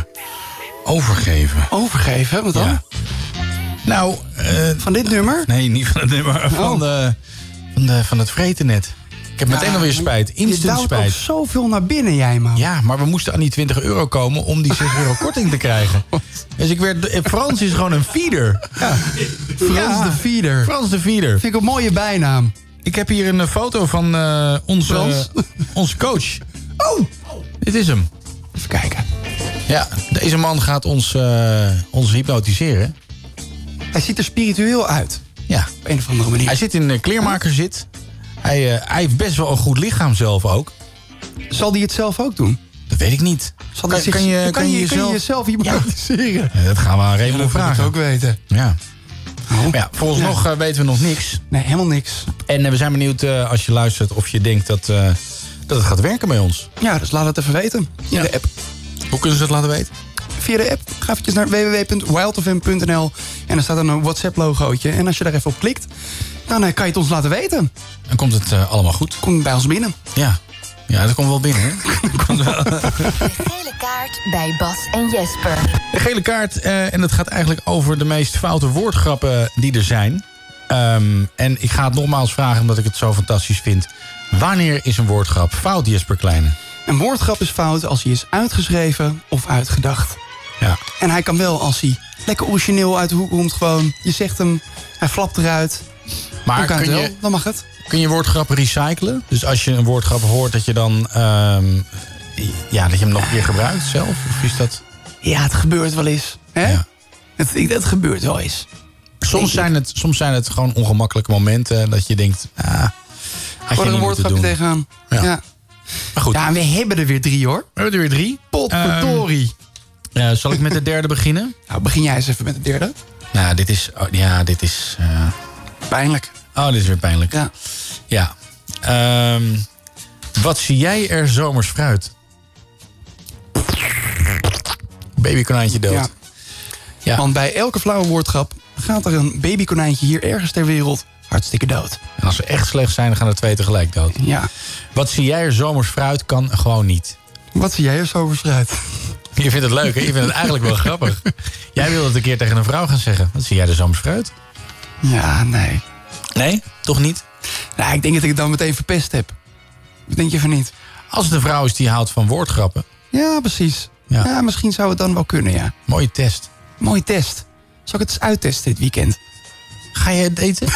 overgeven. Overgeven? Wat dan? eh, Nou... van dit nummer? Nee, niet van het Oh. nummer. Van, de, van, de, van het vreten net. Ik heb meteen alweer spijt. Nou, je Instant duwt ook spijt. zoveel naar binnen, jij man. Ja, maar we moesten aan die 20 euro komen om die 6 euro [LAUGHS] korting te Oh, krijgen. Dus ik werd... eh, Frans is gewoon een feeder. Frans de Feeder. Frans de Feeder. Vind ik een mooie bijnaam. Ik heb hier een eh, foto van eh, onze, Frans? eh, [LAUGHS] onze coach. Oh! Dit is hem. Even kijken. Ja, deze man gaat ons, eh, ons hypnotiseren. Hij ziet er spiritueel uit. Ja. Op een of andere manier. Hij zit in een kleermakerzit. Hij, eh, hij heeft best wel een goed lichaam zelf ook. Zal hij het zelf ook doen? Dat weet ik niet. Zal hij zich- kan je- kan je jezelf hypnotiseren? Ja, Eh, dat gaan we aan Raymond dat wil ik vragen. ook weten. Oh. Ja. Maar ja, volgens nog eh, weten we nog niks. Nee, helemaal niks. En eh, we zijn benieuwd eh, als je luistert of je denkt dat, eh, dat het gaat werken bij ons. Ja, dus laat het even weten. Ja. De app. Hoe kunnen ze dat laten weten? Via de app. Ga eventjes naar www.wildofm.nl en er staat dan een WhatsApp-logootje. En als je daar even op klikt, dan eh, kan je het ons laten weten. Dan komt het eh, allemaal goed. Komt bij ons binnen. Ja. Ja, dat komt wel binnen. Hè? [LAUGHS] Gele kaart bij Bas en Jesper. De gele kaart, eh, en dat gaat eigenlijk over de meest foute woordgrappen die er zijn. Ehm, en ik ga het nogmaals vragen, omdat ik het zo fantastisch vind. Wanneer is een woordgrap fout, Jesper Kleine? Een woordgrap is fout als hij is uitgeschreven of uitgedacht. Ja. En hij kan wel als hij lekker origineel uit de hoek komt gewoon. Je zegt hem, hij flapt eruit. Maar dan kan kun het je- wel, dan mag het. Kun je woordgrappen recyclen? Dus als je een woordgrap hoort, dat je dan... ehm, ja, dat je hem nog een keer gebruikt zelf? Of is dat... Ja, het gebeurt wel eens. Hè? Het, ik- het gebeurt wel eens. Soms zijn, het, soms zijn het gewoon ongemakkelijke momenten dat je denkt... Ah, had je Gewoon niet een moeten woordgrapje doen. tegenaan. Ja. Maar goed. Ja, en we hebben er weer drie hoor. We hebben er weer drie. Potverdorie. Eh, zal ik met de derde beginnen? Nou, begin jij eens even met de derde. Nou, dit is... oh, ja, dit is... eh, Pijnlijk. Oh, dit is weer pijnlijk. Ja. Ja. Ehm, wat zie jij er zomers fruit? Babykonijntje dood. Ja. Want bij elke flauwe woordgrap gaat er een babykonijntje hier ergens ter wereld hartstikke dood. En als ze echt slecht zijn, dan gaan er twee tegelijk dood. Ja. Wat zie jij er zomers fruit kan gewoon niet. Wat zie jij er zomers fruit? [LAUGHS] Je vindt het leuk, hè? Je vindt het eigenlijk wel grappig. Jij wilde het een keer tegen een vrouw gaan zeggen. Wat zie jij er zomers fruit? Ja, nee. Nee? Toch niet? Nou, ik denk dat ik het dan meteen verpest heb. Dat denk je van niet. Als het een vrouw is die houdt van woordgrappen. Ja, precies. Ja. misschien zou het dan wel kunnen, ja. Mooie test. Mooie test. Zal ik het eens uittesten dit weekend? Ga je het [LAUGHS] eten?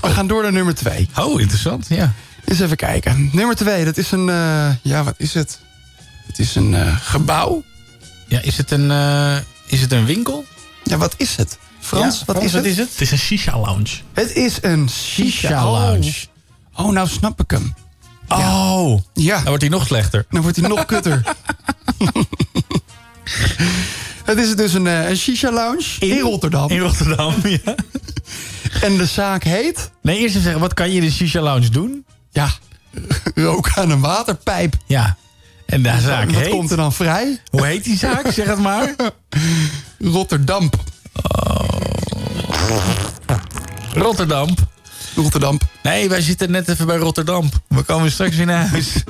We gaan door naar nummer twee. Oh, interessant, ja. Eens even kijken. Nummer twee, dat is een... eh, ja, wat is het? Het is een eh, gebouw. Ja, is het een, eh, is het een winkel? Ja, wat is het? Frans, Ja, wat Frans, is wat het? is het? Het is een shisha lounge. Het is een shisha lounge. Oh, nou snap ik hem. Oh, ja. dan wordt hij nog slechter. Dan wordt hij nog kutter. [LAUGHS] Het is dus een, eh, een shisha lounge in, Rotterdam. In [LAUGHS] Rotterdam, ja. En de zaak heet... Nee, eerst even zeggen, wat kan je in de shisha lounge doen? Ja, [LAUGHS] rook aan een waterpijp. Ja, en daar zaak Wat heet? komt er dan vrij? Hoe heet die [LAUGHS] zaak? Zeg het maar. Rotterdam. Rotterdam. Rotterdam. Nee, wij zitten net even bij Rotterdam. We komen straks weer naar huis. [LAUGHS]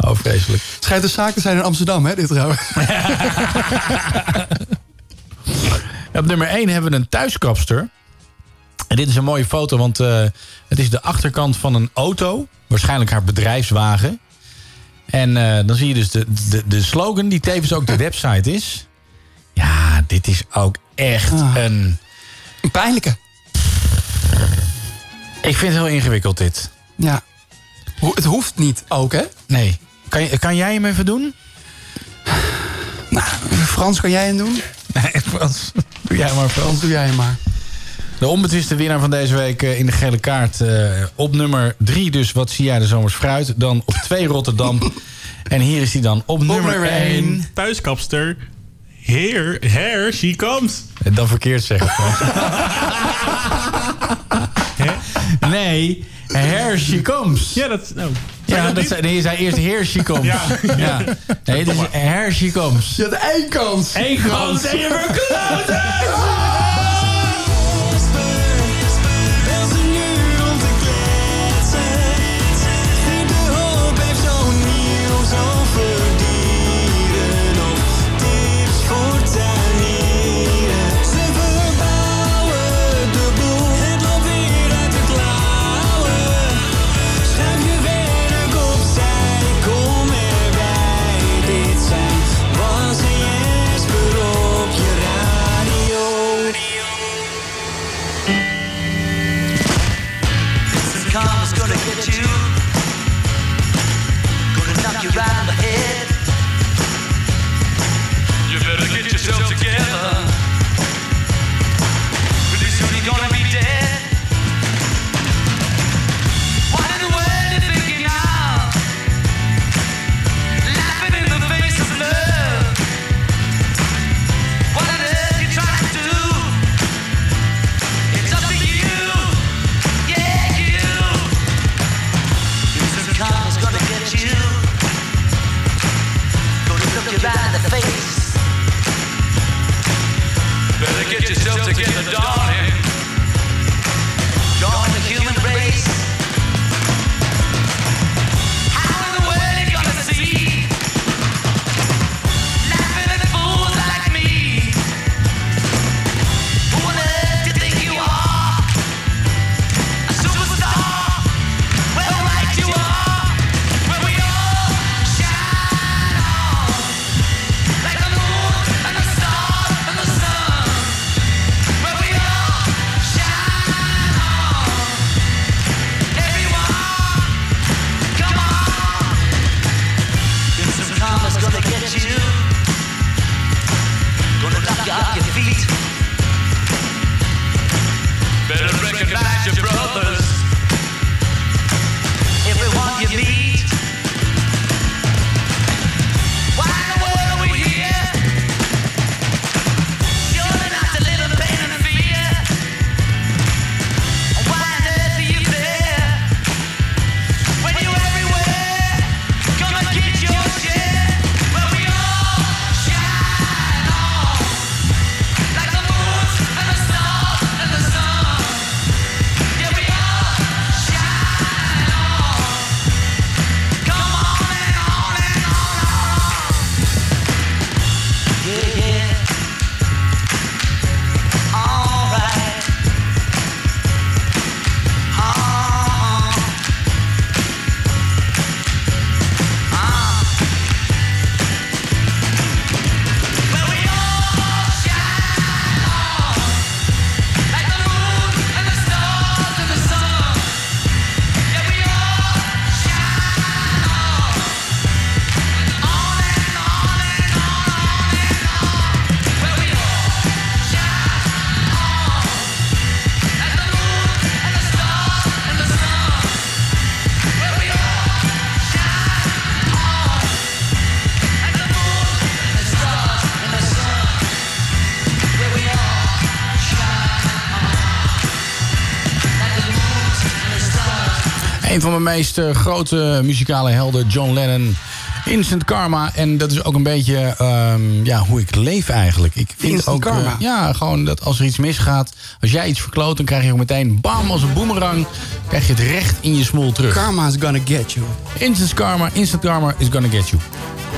Oh, vreselijk. Het schijnt een zaak te zijn in Amsterdam, hè, dit [LAUGHS] trouwens. Op nummer 1 hebben we een thuiskapster. En dit is een mooie foto, want eh, het is de achterkant van een auto. Waarschijnlijk haar bedrijfswagen. En eh, dan zie je dus de, de, de slogan, die tevens ook de website is. Ja, dit is ook echt een... Ah. Een pijnlijke. Ik vind het heel ingewikkeld, dit. Ja. Ho- Het hoeft niet ook, hè? Nee. Kan, je- kan jij hem even doen? Nou, Frans, kan jij hem doen? Nee, Frans. Doe jij maar, Frans. Frans, doe jij hem maar. De onbetwiste winnaar van deze week eh, in de gele kaart. eh, op nummer 3 dus, wat zie jij de zomers fruit? Dan op 2 [LAUGHS] Rotterdam. en hier is hij dan op, nummer 1. Thuiskapster. Here, here she comes. En Eh, dan verkeerd zeggen. [LAUGHS] Frans. nee, here she comes. Ja, dat... Nou, Ja, dat zei, nee, je zei eerst here she comes. Ja. Nee, het is here she comes. Je had één kans. Eén kans. en je Bel ze nu om te kletsen. Vind de hoop, heeft zo'n nieuw, zoveel dieren. Of tips voor tuinieren. Ze verbouwen de boel, het loopt weer uit de klauwen. Schuif je werk opzij, kom erbij. Dit zijn Bas en Jesper op je radio. Mrs. Karma's gonna get you. Gonna knock you right in the head. You better get yourself together. Pretty soon you're gonna be dead. What in the world you thinking of? Laughing in the face of love. What on earth you trying to do? It's up to you. Yeah, you. Mrs. Carter's gonna get you. Gonna look you right in the face. Better get yourself together, darling. Join the human race. How in the world you gonna see? Laughing at fools like me. Who on earth do you think you are? A superstar. Well, right you are. When we all shine on, like the moon and the stars and the sun. When we all shine on, everyone, come on. This is karma's gonna get you. Gonna knock you off your feet. Better recognize your brothers. Everyone you meet. Why in the world are we here? Surely not to live in pain and fear. And why on earth are you there? When you're everywhere, come and get your share. Well, we all shine on like een van mijn meest eh, grote muzikale helden, John Lennon. Instant Karma. En dat is ook een beetje ehm, ja, hoe ik leef eigenlijk. Ik vind Instant ook, eh, karma. ja, gewoon dat als er iets misgaat, als jij iets verkloot, dan krijg je ook meteen bam als een boemerang. Krijg je het recht in je smoel terug. Karma is gonna get you. Instant karma, instant karma is gonna get you.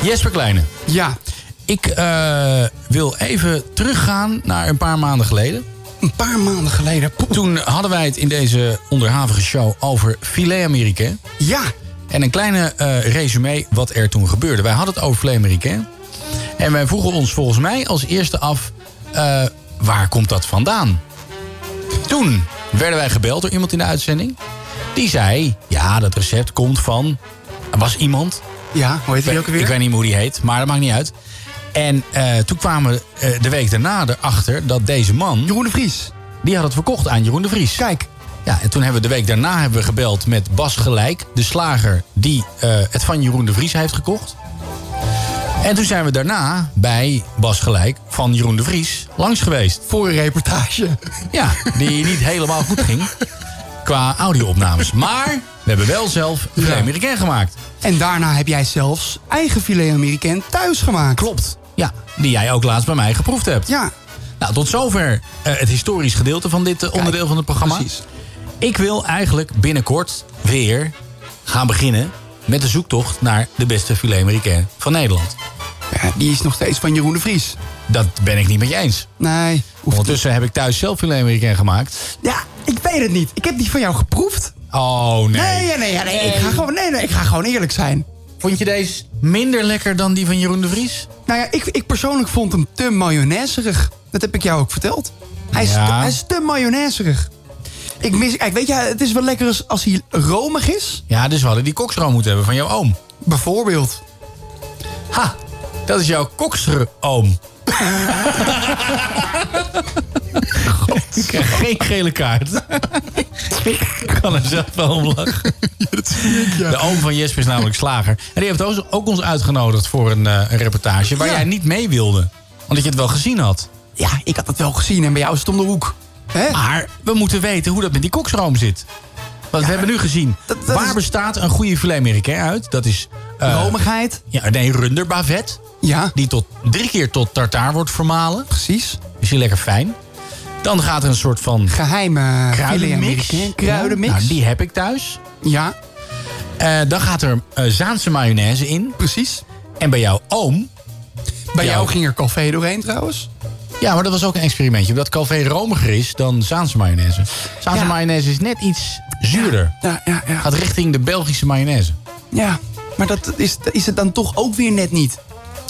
Jesper Kleine. Ja. Ik eh, wil even teruggaan naar een paar maanden geleden. Een paar maanden geleden. Toen hadden wij het in deze onderhavige show over filet américain. Ja. En een kleine eh resume wat er toen gebeurde. Wij hadden het over filet américain. En wij vroegen ons volgens mij als eerste af... eh, waar komt dat vandaan? Toen werden wij gebeld door iemand in de uitzending. Die zei, ja, dat recept komt van... Er was iemand. Ja, hoe heet die ook alweer? Ik weet niet meer hoe die heet, maar dat maakt niet uit. En eh, toen kwamen we eh, de week daarna erachter dat deze man... Jeroen de Vries. Die had het verkocht aan Jeroen de Vries. Kijk. Ja, en toen hebben we de week daarna hebben we gebeld met Bas Gelijk... de slager die eh, het van Jeroen de Vries heeft gekocht. En toen zijn we daarna bij Bas Gelijk van Jeroen de Vries langs geweest. Voor een reportage. Ja, die niet helemaal goed ging qua audio-opnames. Maar we hebben wel zelf een Ja. Amerikaan gemaakt. En daarna heb jij zelfs eigen filet Amerikaan thuis gemaakt. Klopt. Ja, die jij ook laatst bij mij geproefd hebt. Ja. Nou, tot zover eh, het historisch gedeelte van dit eh, onderdeel van het programma. Precies. Ik wil eigenlijk binnenkort weer gaan beginnen met de zoektocht naar de beste filet américain van Nederland. Ja, die is nog steeds van Jeroen de Vries. Dat ben ik niet met je eens. Nee. Ondertussen heb ik thuis zelf filet américain gemaakt. Ja, ik weet het niet. Ik heb die van jou geproefd. Oh nee. Nee, nee, nee, nee, Ik, ga gewoon, nee, nee ik ga gewoon eerlijk zijn. Vond je deze minder lekker dan die van Jeroen de Vries? Nou ja, ik, ik persoonlijk vond hem te mayonaiserig. Dat heb ik jou ook verteld. Hij is, Ja. te, hij is te mayonaiserig. Ik mis, kijk, weet je, het is wel lekker als, als hij romig is. Ja, dus we hadden die koksroom moeten hebben van jouw oom. Bijvoorbeeld. Ha, dat is jouw [LAUGHS] kokseroom. [LAUGHS] Ik krijg geen gele kaart. ik kan er zelf wel om lachen. De oom van Jesper is namelijk slager. En die heeft ons- ook ons uitgenodigd voor een, eh, een reportage... waar jij niet mee wilde. Omdat je het wel gezien had. Ja, ik had het wel gezien en bij jou is het om de hoek. Hè? Maar we moeten weten hoe dat met die koksroom zit. Want we hebben nu gezien... waar bestaat een goede filet américain uit? Dat is... eh, Romigheid. ja, nee, runderbavet. Ja. Die tot, drie keer tot tartaar wordt vermalen. Precies. Is die lekker fijn. Dan gaat er een soort van Geheime kruidenmix. filet-Amerikaan. Kruidenmix. Nou, die heb ik thuis. Ja, Eh, dan gaat er eh, Zaanse mayonaise in. precies. En bij jouw oom... Bij Ja. jou ging er café doorheen trouwens. Ja, maar dat was ook een experimentje. Omdat Calvé romiger is dan Zaanse mayonaise. Zaanse Ja. mayonaise is net iets zuurder. Ja, ja, ja. Gaat richting de Belgische mayonaise. Ja, maar dat is, is het dan toch ook weer net niet.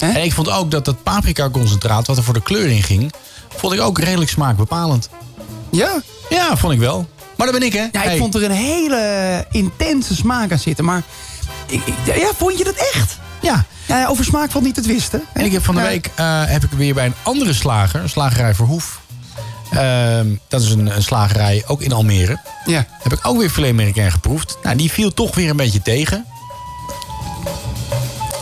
En ik vond ook dat dat paprika-concentraat... wat er voor de kleur in ging... vond ik ook redelijk smaakbepalend. Ja? Ja, vond ik wel. Maar dat ben ik, hè? Ja, ik Hey. vond er een hele intense smaak aan zitten. Maar ik, ik- ja, vond je dat echt? Ja. ja over smaak valt niet het wisten. En ik heb van de week eh, heb ik weer bij een andere slager, een slagerij Verhoef. Ehm, dat is een, een slagerij ook in Almere. Ja. Heb ik ook weer filet américain geproefd. Nou, die viel toch weer een beetje tegen.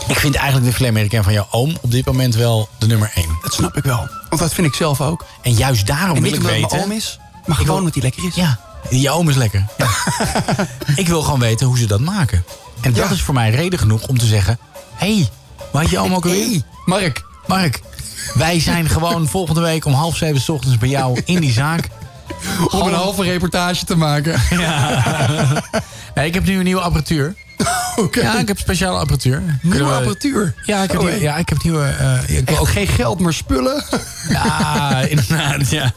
Ik vind eigenlijk de filet américain van jouw oom op dit moment wel de nummer één. Dat snap ik wel. Want dat vind ik zelf ook. En juist daarom en Oh, wil niet ik omdat het mijn oom weten. is, maar gewoon omdat hij lekker is. Ja, jouw oom is lekker. [LAUGHS] Ja. ik wil gewoon weten hoe ze dat maken. En dat Ja. is voor mij reden genoeg om te zeggen: hé, hey, waar had je oom ook alweer? Hey, Mark, Mark, wij zijn [LAUGHS] gewoon volgende week om half zeven 's ochtends bij jou in die zaak. Om een halve reportage te [LAUGHS] maken. Nee, ik heb nu een nieuwe apparatuur. [LAUGHS] Oké. Ja, ik heb speciale apparatuur. Nieuwe Kunnen we- apparatuur. Ja, ik heb, Oh, nieuwe- ja, ik heb nieuwe. eh, ik wil Ook ook geen geld, maar spullen. Ja, Ah, inderdaad, ja.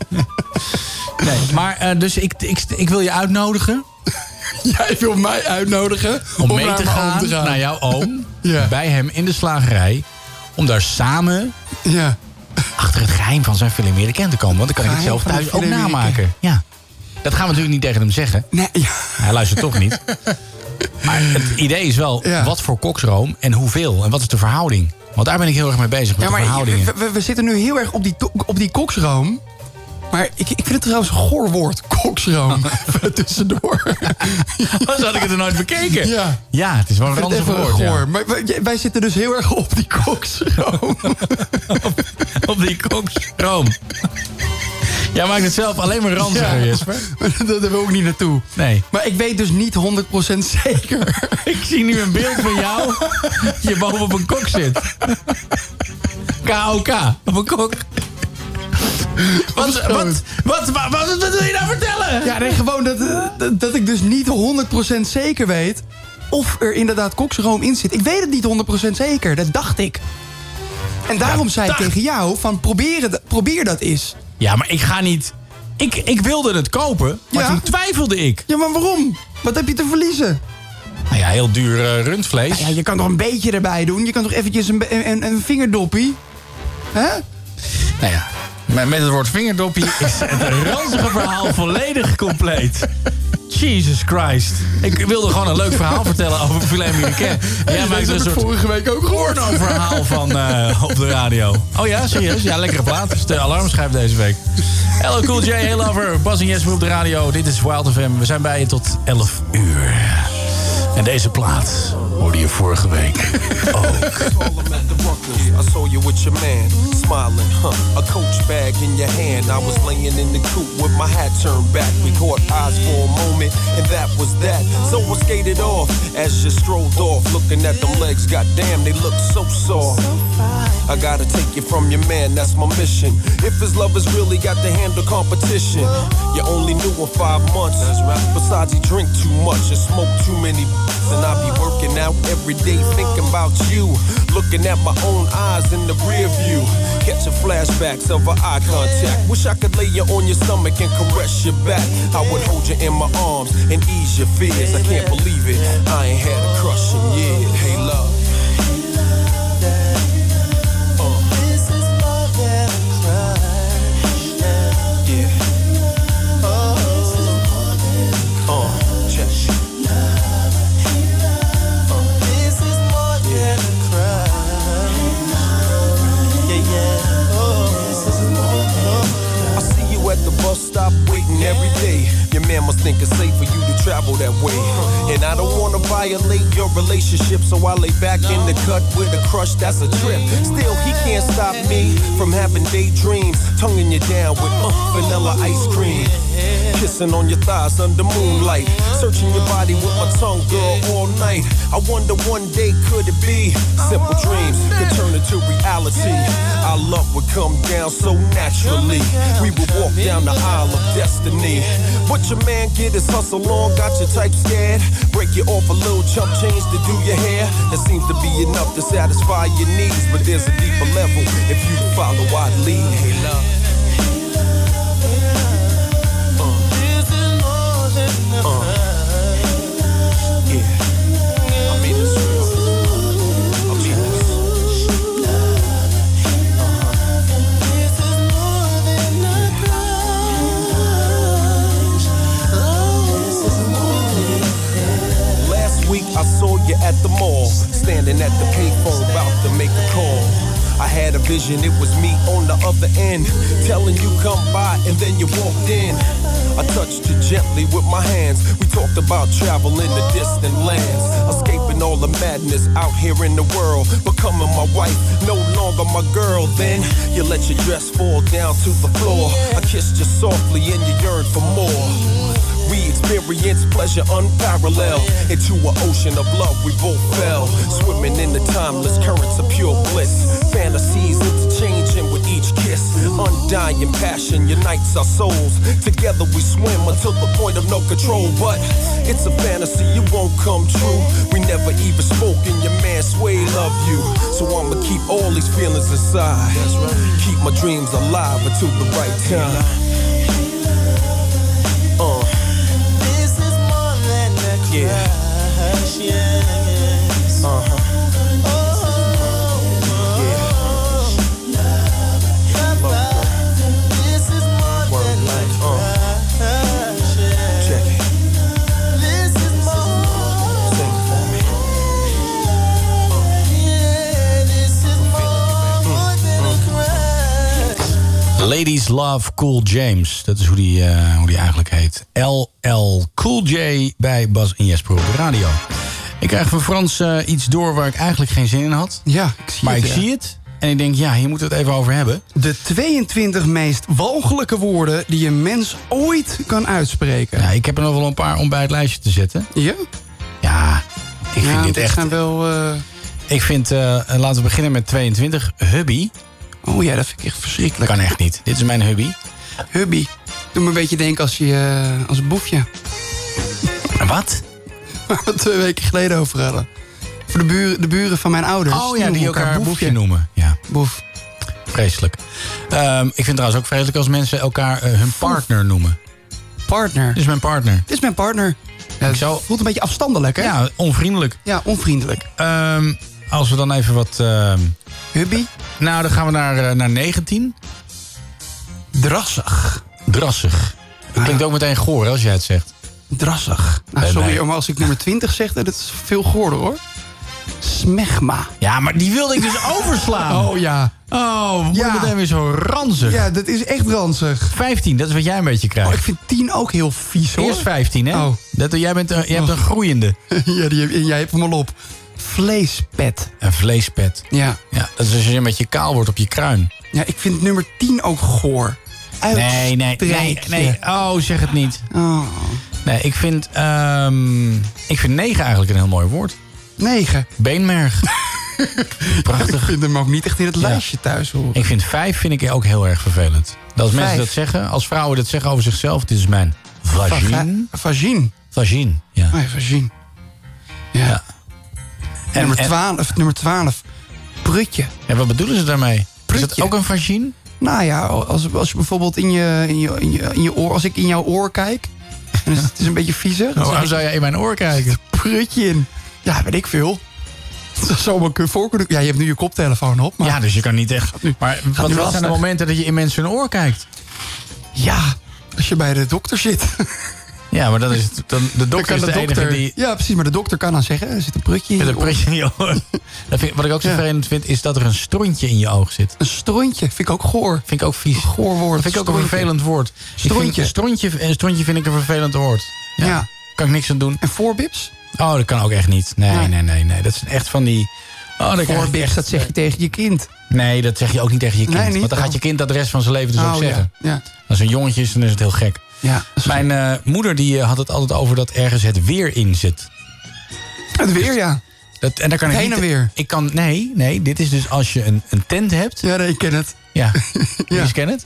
Nee, maar eh, dus ik, ik, ik wil je uitnodigen [LAUGHS] Jij wil mij uitnodigen om, mee naar te mijn oom gaan, naar jouw oom. [LAUGHS] Ja. Bij hem in de slagerij. Om daar samen Ja. achter het geheim van zijn film Amerikaan te komen. Want dan kan ik het Geheim zelf van thuis de ook Amerikaan. namaken. Ja. Dat gaan we natuurlijk niet tegen hem zeggen. Nee, ja. Hij luistert toch [LAUGHS] niet. Maar het idee is wel, Ja. wat voor koksroom en hoeveel? En wat is de verhouding? Want daar ben ik heel erg mee bezig, met Ja, de maar verhoudingen. we, we- we zitten nu heel erg op die, to- op die koksroom. Maar ik, ik vind het trouwens een goor woord, [LAUGHS] koksroom. [LAUGHS] Even tussendoor. Anders had ik het er nooit bekeken. Ja. ja het is wel een Ik vind ranzig het even woord. goor. ja. Maar wij, wij zitten dus heel erg op die [LAUGHS] koksroom. Op die koksroom. Jij maakt het zelf alleen maar ranzig, [LAUGHS] Jesper. Daar wil ik niet naartoe. Nee. Maar ik weet dus niet 100% zeker. [LAUGHS] ik zie nu een beeld van jou. Je boven op een kok zit. KOK. Op een kok. [LAUGHS] Wat, wat, wat, wat, wat, wat wil je nou vertellen? Ja, nee, gewoon dat, dat, dat ik dus niet 100% zeker weet... of er inderdaad koksroom in zit. Ik weet het niet 100% zeker, dat dacht ik. En daarom zei ik tegen jou, van probeer, het, probeer dat eens. Ja, maar ik ga niet... Ik, ik wilde het kopen, maar toen twijfelde ik. Ja, maar waarom? Wat heb je te verliezen? Nou ja, heel duur eh, rundvlees. Ja, je kan toch een beetje erbij doen? Je kan toch eventjes een, be- een, een vingerdoppie? Hè? Nou ja, met, met het woord vingerdoppie is het ranzige verhaal volledig compleet. Jesus Christ. Ik wilde gewoon een leuk verhaal vertellen over filet américain. Jij maakt er een soort vorige week ook gehoord. porno-verhaal van eh, op de radio. Oh ja, serieus? Ja, lekkere plaat. Dus de alarmschijf deze week. Hello Cool J, heel over. Bas en Jesper op de radio. Dit is Wild FM. We zijn bij je tot 11 uur. En deze plaat hoorde je vorige week ook. [LAUGHS] I saw you with your man, smiling, huh? A coach bag in your hand. I was laying in the coop with my hat turned back. We caught eyes for a moment, and that was that. So I skated off as you strolled off, looking at them legs. Goddamn, they look so soft. I gotta take you from your man, that's my mission. If his love is really got to handle competition, you only knew him five months. Besides, he drink too much and smoke too many. And I be working out every day, thinking about you. Looking at my own eyes in the rear view. Catching flashbacks of our eye contact. Wish I could lay you on your stomach and caress your back. I would hold you in my arms and ease your fears. I can't believe it. I ain't had a crush in years. Hey, love. This is more than a crush. Yeah. Oh, this is more than Uh, check. This is more than a crush. Yeah, yeah. Oh, this is more than a crush. I see you at the bus stop waiting every day. Your man must think it's safe for you to travel that way. And I don't wanna violate your relationship, so I lay back in the cut with a crush that's a trip. Still, he can't stop me from having daydreams, tonguing you down with uh, vanilla ice cream. Kissing on your thighs under moonlight, searching your body with my tongue, girl, all night. I wonder one day could it be simple dreams could turn into reality. Our love would come down so naturally. We would walk down the aisle of destiny. But your man get his hustle on, got your type scared. Break you off a little chump change to do your hair. That seems to be enough to satisfy your needs. But there's a deeper level if you follow our lead. Hey love. This is more than a crush. Yeah. I mean this real. I mean this. This is more than a crush. Oh, this is more than a Last week I saw you at the mall, standing at the payphone about to make a call. I had a vision, it was me on the other end, telling you come by, and then you walked in. I touched you gently with my hands. We talked about travel in the distant lands, escaping all the madness out here in the world, becoming my wife, no longer my girl. Then you let your dress fall down to the floor. I kissed you softly, and you yearned for more. We experience pleasure unparalleled into an ocean of love. We both fell, swimming in the timeless currents of pure bliss. Fantasies interchanging with each kiss. Undying passion unites our souls. Together we swim until the point of no control. But it's a fantasy, it won't come true. We never even spoke, and your man sway love you. So I'ma keep all these feelings inside. Keep my dreams alive until the right time. Uh. This is more than a Yeah. crush, yes. Uh-huh. This is more than a crush, yes. This is more Yeah, this is more more than a crush. Ladies Love Cool James. Dat is hoe die, eh, hoe die eigenlijk heet. LL Cool J bij Bas en Jesper op de radio. Ik krijg van Frans eh, iets door waar ik eigenlijk geen zin in had. Ja, Ah, ik zie maar het, ik ja. zie het. En ik denk, ja, hier moeten we het even over hebben. De 22 meest walgelijke woorden die een mens ooit kan uitspreken. Ja, ik heb er nog wel een paar om bij het lijstje te zetten. Ja? Ja, ik vind Ja, dit dit echt... zijn wel... eh, Ik vind, eh, eh, laten we beginnen met 22, hubby. Oh ja, dat vind ik echt verschrikkelijk. Kan echt niet. Dit is mijn hubby. Hubby. Doe me een beetje denken als, je, eh, als een boefje. [LAUGHS] Wat? Waar we het twee weken geleden over hadden. Voor de buren, de buren van mijn ouders. Oh ja, die noemen elkaar boefje noemen. Ja. Boef. Vreselijk. Ehm, ik vind het trouwens ook vreselijk als mensen elkaar eh, hun partner noemen. Partner? Dit is mijn partner. Dit is mijn partner. Ja, het voelt een beetje afstandelijk, hè? Ja, onvriendelijk. Ja, onvriendelijk. Ehm, als we dan even wat... ehm, Hubby? Nou, dan gaan we naar, eh, naar 19. Drassig. Ah, Drassig. Dat klinkt ook meteen goor hè, als jij het zegt. Drassig. Nou, Eh, sorry, nee. maar als ik nummer 20 zeg, dat is veel goorder, hoor. Smegma. Ja, maar die wilde ik [LAUGHS] dus overslaan. Oh ja. Oh, we Ja. moeten meteen weer zo ranzig. Ja, dat is echt ranzig. 15, dat is wat jij een beetje krijgt. Oh, ik vind 10 ook heel vies, hoor. Eerst 15, hè? Oh. Dat, jij, bent, een- jij hebt een groeiende. [LAUGHS] ja, die heb, jij hebt hem al op. Vleespet. Een vleespet. Ja. Ja, dat is als je een beetje kaal wordt op je kruin. Ja, ik vind nummer 10 ook goor. Nee, nee, nee, Uitstrijkje. nee. Oh, zeg het niet. Oh. Nee, ik vind, ehm, ik vind negen eigenlijk een heel mooi woord. 9. [LAUGHS] Beenmerg. Prachtig. Ik vind hem ook niet echt in het lijstje thuis horen. Ik vind vijf vind ik ook heel erg vervelend. Dat als mensen Vijf. dat zeggen, als vrouwen dat zeggen over zichzelf, dit is mijn vagin. Vaga- Vagin. Vagin, ja. Oh ja, vagin. Ja. En- nummer, en- 12, nummer 12. Prutje. En wat bedoelen ze daarmee? Is dat ook een vagin? Nou ja, als, als je bijvoorbeeld in je, in, je, in, je, in je oor... Als ik in jouw oor kijk... En het is een beetje viezig. dan Oh, zeg waarom ik, zou jij in mijn oor kijken? prutje in. Ja, weet ik veel. Dat zou zomaar kunnen voor kunnen. Ja, je hebt nu je koptelefoon op. Maar Ja, dus je kan niet echt... Maar nu wat, wat zijn de lastig. momenten dat je in mensen hun oor kijkt? ja, als je bij de dokter zit. Ja, maar dan is het, dan, de dokter kan is de, enige dokter- die... Ja, precies. Maar de dokter kan dan zeggen... Er zit een prutje in Met je een oor. prutje in je [LAUGHS] oor. Dat vind ik- Wat ik ook zo Ja. vervelend vind, is dat er een strontje in je oog zit. Een strontje. Vind ik ook goor. Vind ik ook vies. Goor woord. Dat vind ik ook een vervelend woord. Ik Strontje. vind, strontje, eh, strontje vind ik een vervelend woord. Ja. Ja. Kan ik niks aan doen. En voorbips? Oh, dat kan ook echt niet. Nee, nee, nee, nee. Dat is echt van die... Oh, dat krijg ik Voorbips, echt- dat zeg je tegen je kind. Nee, dat zeg je ook niet tegen je kind. Nee, niet? Want dan gaat je kind dat de rest van zijn leven dus ook Oh, ja. zeggen. Ja. Als een jongetje is, dan is het heel gek. Ja. Mijn eh, moeder die eh, had het altijd over dat ergens het weer in zit. Dus Het weer, ja. Dat, en daar kan ik Heen niet- en weer. Ik kan, nee, nee, dit is dus als je een, een tent hebt. Ja, nee, ik ken het. [LAUGHS] Ja, ja. ken het?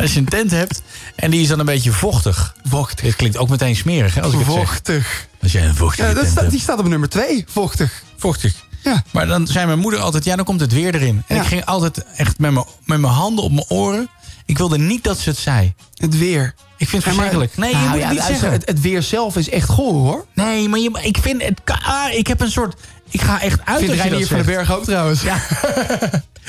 als je een tent hebt en die is dan een beetje vochtig. Vochtig. Dit klinkt ook meteen smerig, hè, als ik het zeg. Vochtig. Als jij een vochtige Ja, dat tent staat, hebt. die staat op nummer 2. Vochtig. Vochtig. Ja. Maar dan zei mijn moeder altijd, ja, dan komt het weer erin. En Ja. ik ging altijd echt met mijn, met mijn handen op mijn oren. Ik wilde niet dat ze het zei. Het weer. Ik vind het Ja, maar- verschrikkelijk. Nee, je Nou moet ja, het niet luister, zeggen. Het, het weer zelf is echt goor, hoor. Nee, maar je, ik vind het... ka- Ah, ik heb een soort... Ik ga echt Vindt uit als je dat Reinier van den zegt. Berg ook trouwens. [LAUGHS] Ah,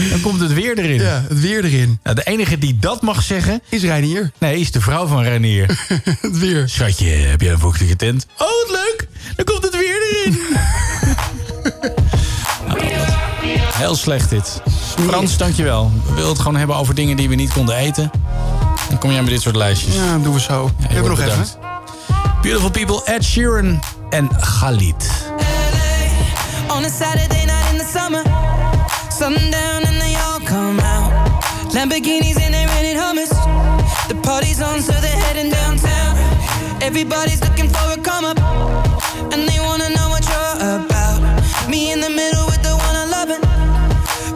Ja. Dan komt het weer erin. het weer erin. Nou, de enige die dat mag zeggen... Is Reinier. Nee, is de vrouw van Renier. [LAUGHS] Het weer. Schatje, heb jij een vochtige tent? Oh, wat leuk! Dan komt het weer erin. [LAUGHS] Heel slecht dit. Frans, dankjewel. We wilden het gewoon hebben over dingen die we niet konden eten. Dan kom jij met dit soort lijstjes. Ja, dat doen we zo. Ja, je Hebben we nog wordt even? bedankt. Beautiful people, Ed Sheeran en Khalid. on a Saturday night in the summer. Sundown and they all come out. Lamborghinis and they rented hummus. The party's on, so they're heading downtown. Everybody's looking for a come up, and they wanna know what you're about. Me in the middle with the one I love it.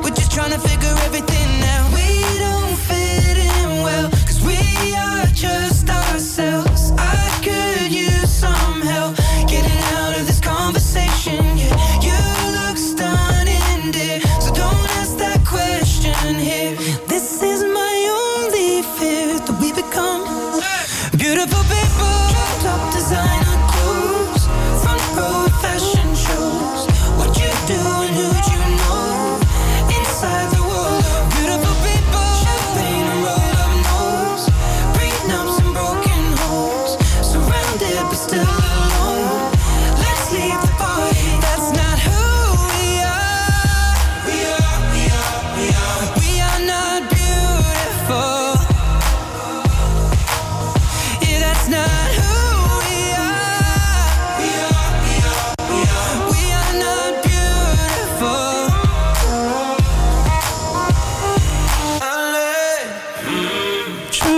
We're just trying to figure everything out. We don't fit in well, cause we are just ourselves. I could use some help getting out of this conversation. Yeah, you look stunning, dear. So don't ask that question here. This is my only fear that we become beautiful people. Top designer clothes, front row fashion shows. What you do and who you know inside the world of beautiful people.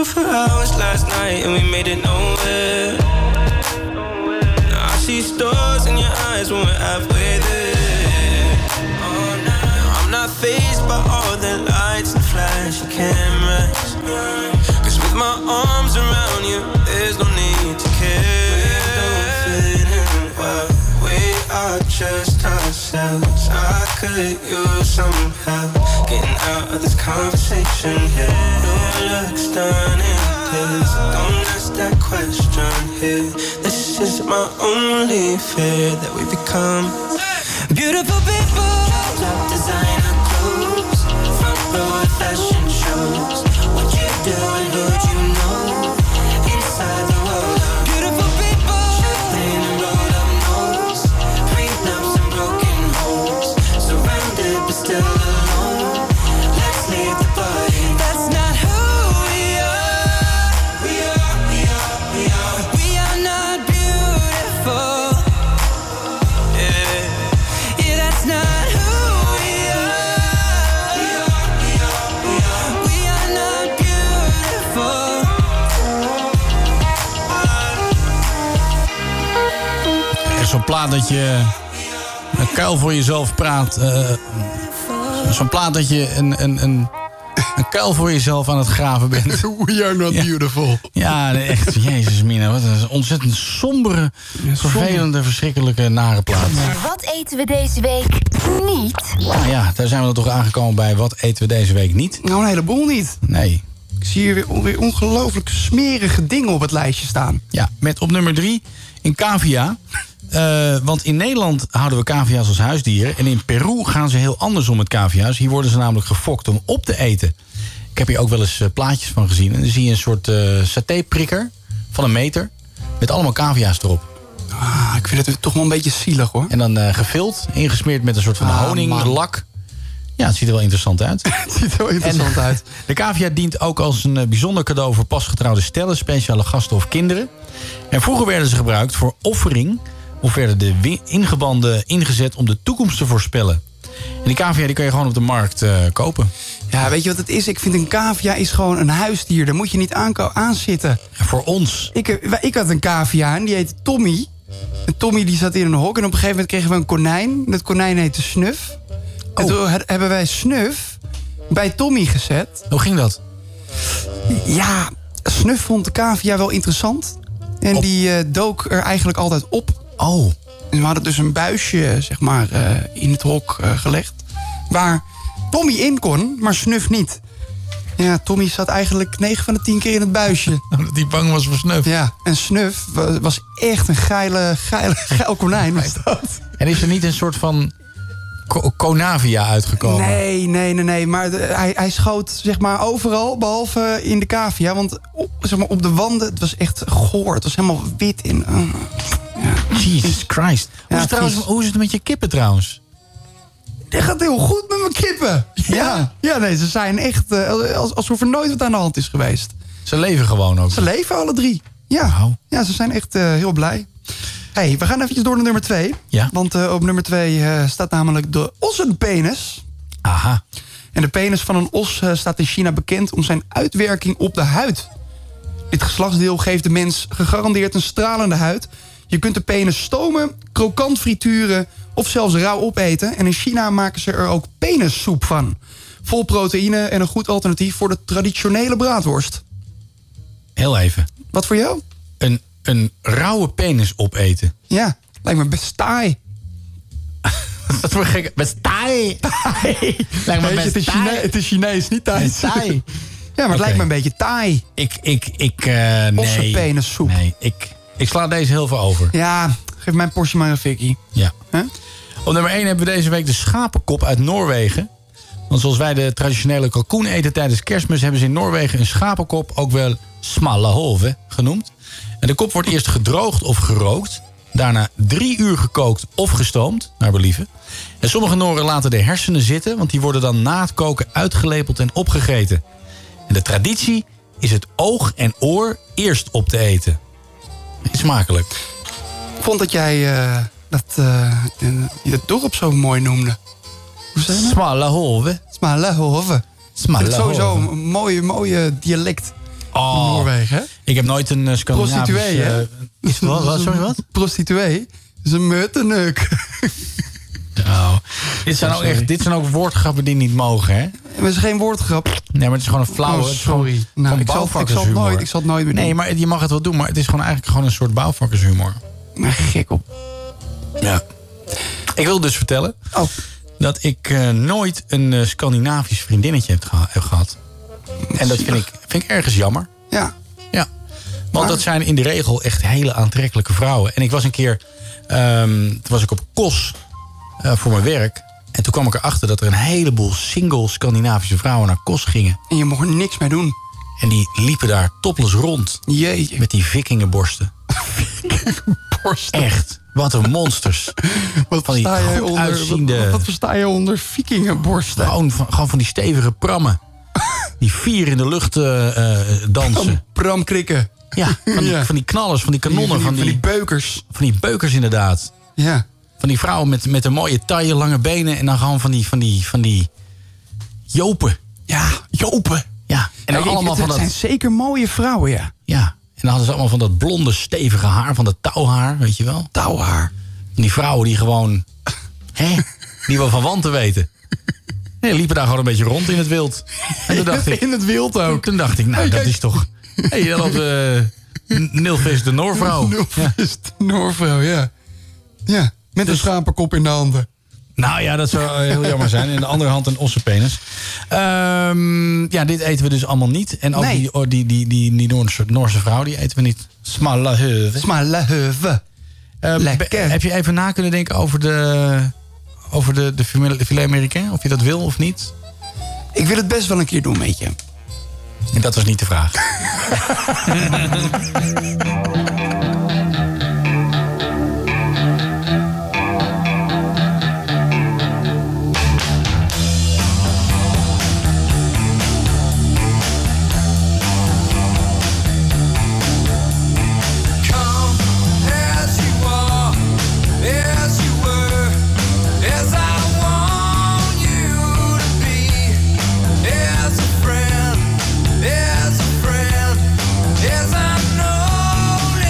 for hours last night and we made it nowhere. Now I see stars in your eyes when we're halfway there. Oh, now I'm not phased by all the lights and flashy cameras. Cause with my arms around you, there's no need to care. We don't fit in well. We are just ourselves. I could use some help getting out of this conversation here. Your looks done in this. Don't ask that question here. This is my only fear that we become beautiful people. Top designer clothes, front row at fashion shows. What you do and who you know inside the world. Beautiful people. Champagne and rolled up nose, prenups and broken homes. Surrounded but still alone. Let's leave the body. That's not who we are. We are, we are, we are. We are not beautiful. Yeah. Yeah, that's not who we are. We are, we are, we are. We are not beautiful. Echt zo'n plaat dat je een kuil voor jezelf praat. eh, zo'n plaat dat je een, een, een, een kuil voor jezelf aan het graven bent. [LAUGHS] We are not beautiful. Ja, nee, echt. Jezus, Mina. Wat een ontzettend sombere, vervelende, verschrikkelijke, nare plaat. Wat eten we deze week niet? Nou ja, daar zijn we dan toch aangekomen bij. Wat eten we deze week niet? Nou, een heleboel niet. Nee. Ik zie hier weer, weer ongelooflijk smerige dingen op het lijstje staan. Ja, met op nummer drie in cavia. Eh, want in Nederland houden we cavia's als huisdieren. En in Peru gaan ze heel anders om met cavia's. Hier worden ze namelijk gefokt om op te eten. Ik heb hier ook wel eens eh, plaatjes van gezien. En dan zie je een soort eh satéprikker van een meter. Met allemaal cavia's erop. Ah, ik vind het toch wel een beetje zielig hoor. En dan eh gevild, ingesmeerd met een soort van Ah, honing, man. lak. Ja, het ziet er wel interessant uit. [LAUGHS] Het ziet er wel interessant En uit. De cavia dient ook als een eh, bijzonder cadeau voor pasgetrouwde stellen, speciale gasten of kinderen. En vroeger werden ze gebruikt voor offering of werden de wi- ingewanden ingezet om de toekomst te voorspellen. En die cavia die kun je gewoon op de markt eh, kopen. Ja, weet je wat het is? Ik vind een cavia is gewoon een huisdier. Daar moet je niet aan aanzitten. Voor ons. Ik, eh, wij- ik had een cavia en die heette Tommy. En Tommy die zat in een hok en op een gegeven moment kregen we een konijn. Dat konijn heette Snuf. Oh. En toen he- hebben wij Snuf bij Tommy gezet. Hoe ging dat? Ja, Snuf vond de cavia wel interessant. En die eh, dook er eigenlijk altijd op. Oh. En we hadden dus een buisje, zeg maar, eh, in het hok eh, gelegd. Waar Tommy in kon, maar Snuf niet. Ja, Tommy zat eigenlijk 9 van de 10 keer in het [LAUGHS] buisje. Omdat hij bang was voor Snuf. Ja, en Snuf wa- was echt een geile, geile, geil konijn. Was dat. En [LAUGHS] is er niet een soort van co- conavia uitgekomen? Nee, nee, nee, nee. Maar de- hij, hij schoot zeg maar overal, behalve eh, in de cavia. Want op, zeg maar, op de wanden, het was echt goor. Het was helemaal wit in. ah. Jesus Christ. Hoe, is het trouwens, hoe is het met je kippen trouwens? Dit gaat heel goed met mijn kippen. Ja, ja nee, ze zijn echt eh, als- alsof er nooit wat aan de hand is geweest. Ze leven gewoon ook. Ze leven alle drie. Ja, ja ze zijn echt eh, heel blij. hey, we gaan eventjes door naar nummer twee. Ja. Want eh, op nummer twee eh, staat namelijk de ossenpenis. Aha. En de penis van een os eh, staat in China bekend om zijn uitwerking op de huid. Dit geslachtsdeel geeft de mens gegarandeerd een stralende huid. Je kunt de penis stomen, krokant frituren of zelfs rauw opeten. En in China maken ze er ook penissoep van. Vol proteïne en een goed alternatief voor de traditionele braadworst. Heel even. Wat voor jou? Een, een rauwe penis opeten. Ja, lijkt me best taai. [LAUGHS] Dat wordt gek. Best taai. [LAUGHS] Lijkt me Weet je, best het, is Chine- taai. het is Chinees, niet Thais. Best [LAUGHS] taai. Ja, maar het Oké. lijkt me een beetje taai. Ik, ik, ik, eh, nee. Ossenpenissoep. Nee, ik, ik sla deze heel veel over. Ja, geef mijn portie maar een fikkie. Ja. Op nummer 1 hebben we deze week de schapenkop uit Noorwegen. Want zoals wij de traditionele kalkoen eten tijdens kerstmis... hebben ze in Noorwegen een schapenkop, ook wel smalahove genoemd. En de kop wordt eerst gedroogd of gerookt. Daarna drie uur gekookt of gestoomd, naar believen. En sommige Nooren laten de hersenen zitten... want die worden dan na het koken uitgelepeld en opgegeten. En de traditie is het oog en oor eerst op te eten. Smakelijk. Ik vond dat jij eh, dat, eh, je dat dorp zo mooi noemde. Hoe zei je dat? Smalahove. Smalahove. Smalahove. Dat is sowieso een mooie, mooie dialect. Oh. Noorwegen, hè? Ik heb nooit een eh, Scandinavisch... Prostituee, hè? eh, [LAUGHS] is wel, wat, sorry, wat? [LAUGHS] Prostituee is een muttenuk. Nou, [LAUGHS] Dit zijn, Oh, ook sorry. echt, dit zijn ook woordgrappen die niet mogen, hè? Maar het is geen woordgrap. Nee, maar het is gewoon een flauwe... Oh, het is gewoon- sorry. gewoon Nou, ik zal- ik zal het bouwvakkershumor. nooit- ik zal het nooit meer Nee, doen. maar je mag het wel doen, maar het is gewoon eigenlijk gewoon een soort bouwvakkershumor. Maar gek op. Ja. Ik wil dus vertellen Oh. dat ik eh, nooit een eh, Scandinavisch vriendinnetje heb, geha- heb gehad. En dat vind ik, vind ik ergens jammer. Ja. Ah. Ja. Want dat zijn in de regel echt hele aantrekkelijke vrouwen. En ik was een keer, ehm, toen was ik op Kos eh, voor mijn werk. En toen kwam ik erachter dat er een heleboel single Scandinavische vrouwen naar Kos gingen. En je mocht er niks mee doen. En die liepen daar topless rond. Met die vikingenborsten. vikingenborsten. Echt. Wat een monsters. [LAUGHS] wat van die sta jij goed onder, uitziende... Wat, wat versta je onder vikingenborsten? Gewoon van, gewoon van die stevige prammen. Die vier in de lucht eh, eh, dansen. Pramkrikken. Ja, [LAUGHS] van die, Ja. van die knallers, van die kanonnen. Van die- van die beukers. Van die beukers inderdaad. Ja. Van die vrouwen met, met een mooie taille, lange benen. En dan gewoon van die, van die, van die jopen. Ja, jopen. Ja, Ja, en dan ik- ik- allemaal het van dat... zijn zeker mooie vrouwen, ja. Ja, en dan hadden ze allemaal van dat blonde, stevige haar, van dat touwhaar, weet je wel? Touwhaar. En die vrouwen die gewoon... hè? Die wel van wanten weten. Nee, liepen daar gewoon een beetje rond in het wild. En toen dacht ik, in het wild ook. Toen dacht ik, nou, dat is toch... Hé, hey, dat eh Nilvis de [LAUGHS] Noorvrouw. Nilvis de Noorvrouw, ja. Ja, met Dus- een schapenkop in de handen. Nou ja, dat zou eh, heel jammer zijn. In de andere hand een ossenpenis. Ehm, ja, dit eten we dus allemaal niet. En ook Nee. die, oh, die, die, die, die Noorse, Noorse vrouw, die eten we niet. Smalaheuve. Smalaheuve. Lekker. Heb je even na kunnen denken over de, over de, de filet filet américain? Of je dat wil of niet? Ik wil het best wel een keer doen met je. En dat was niet de [LAUGHS] vraag. Come as you are, as you were, as I want you to be, as a friend, as a friend, as I'm known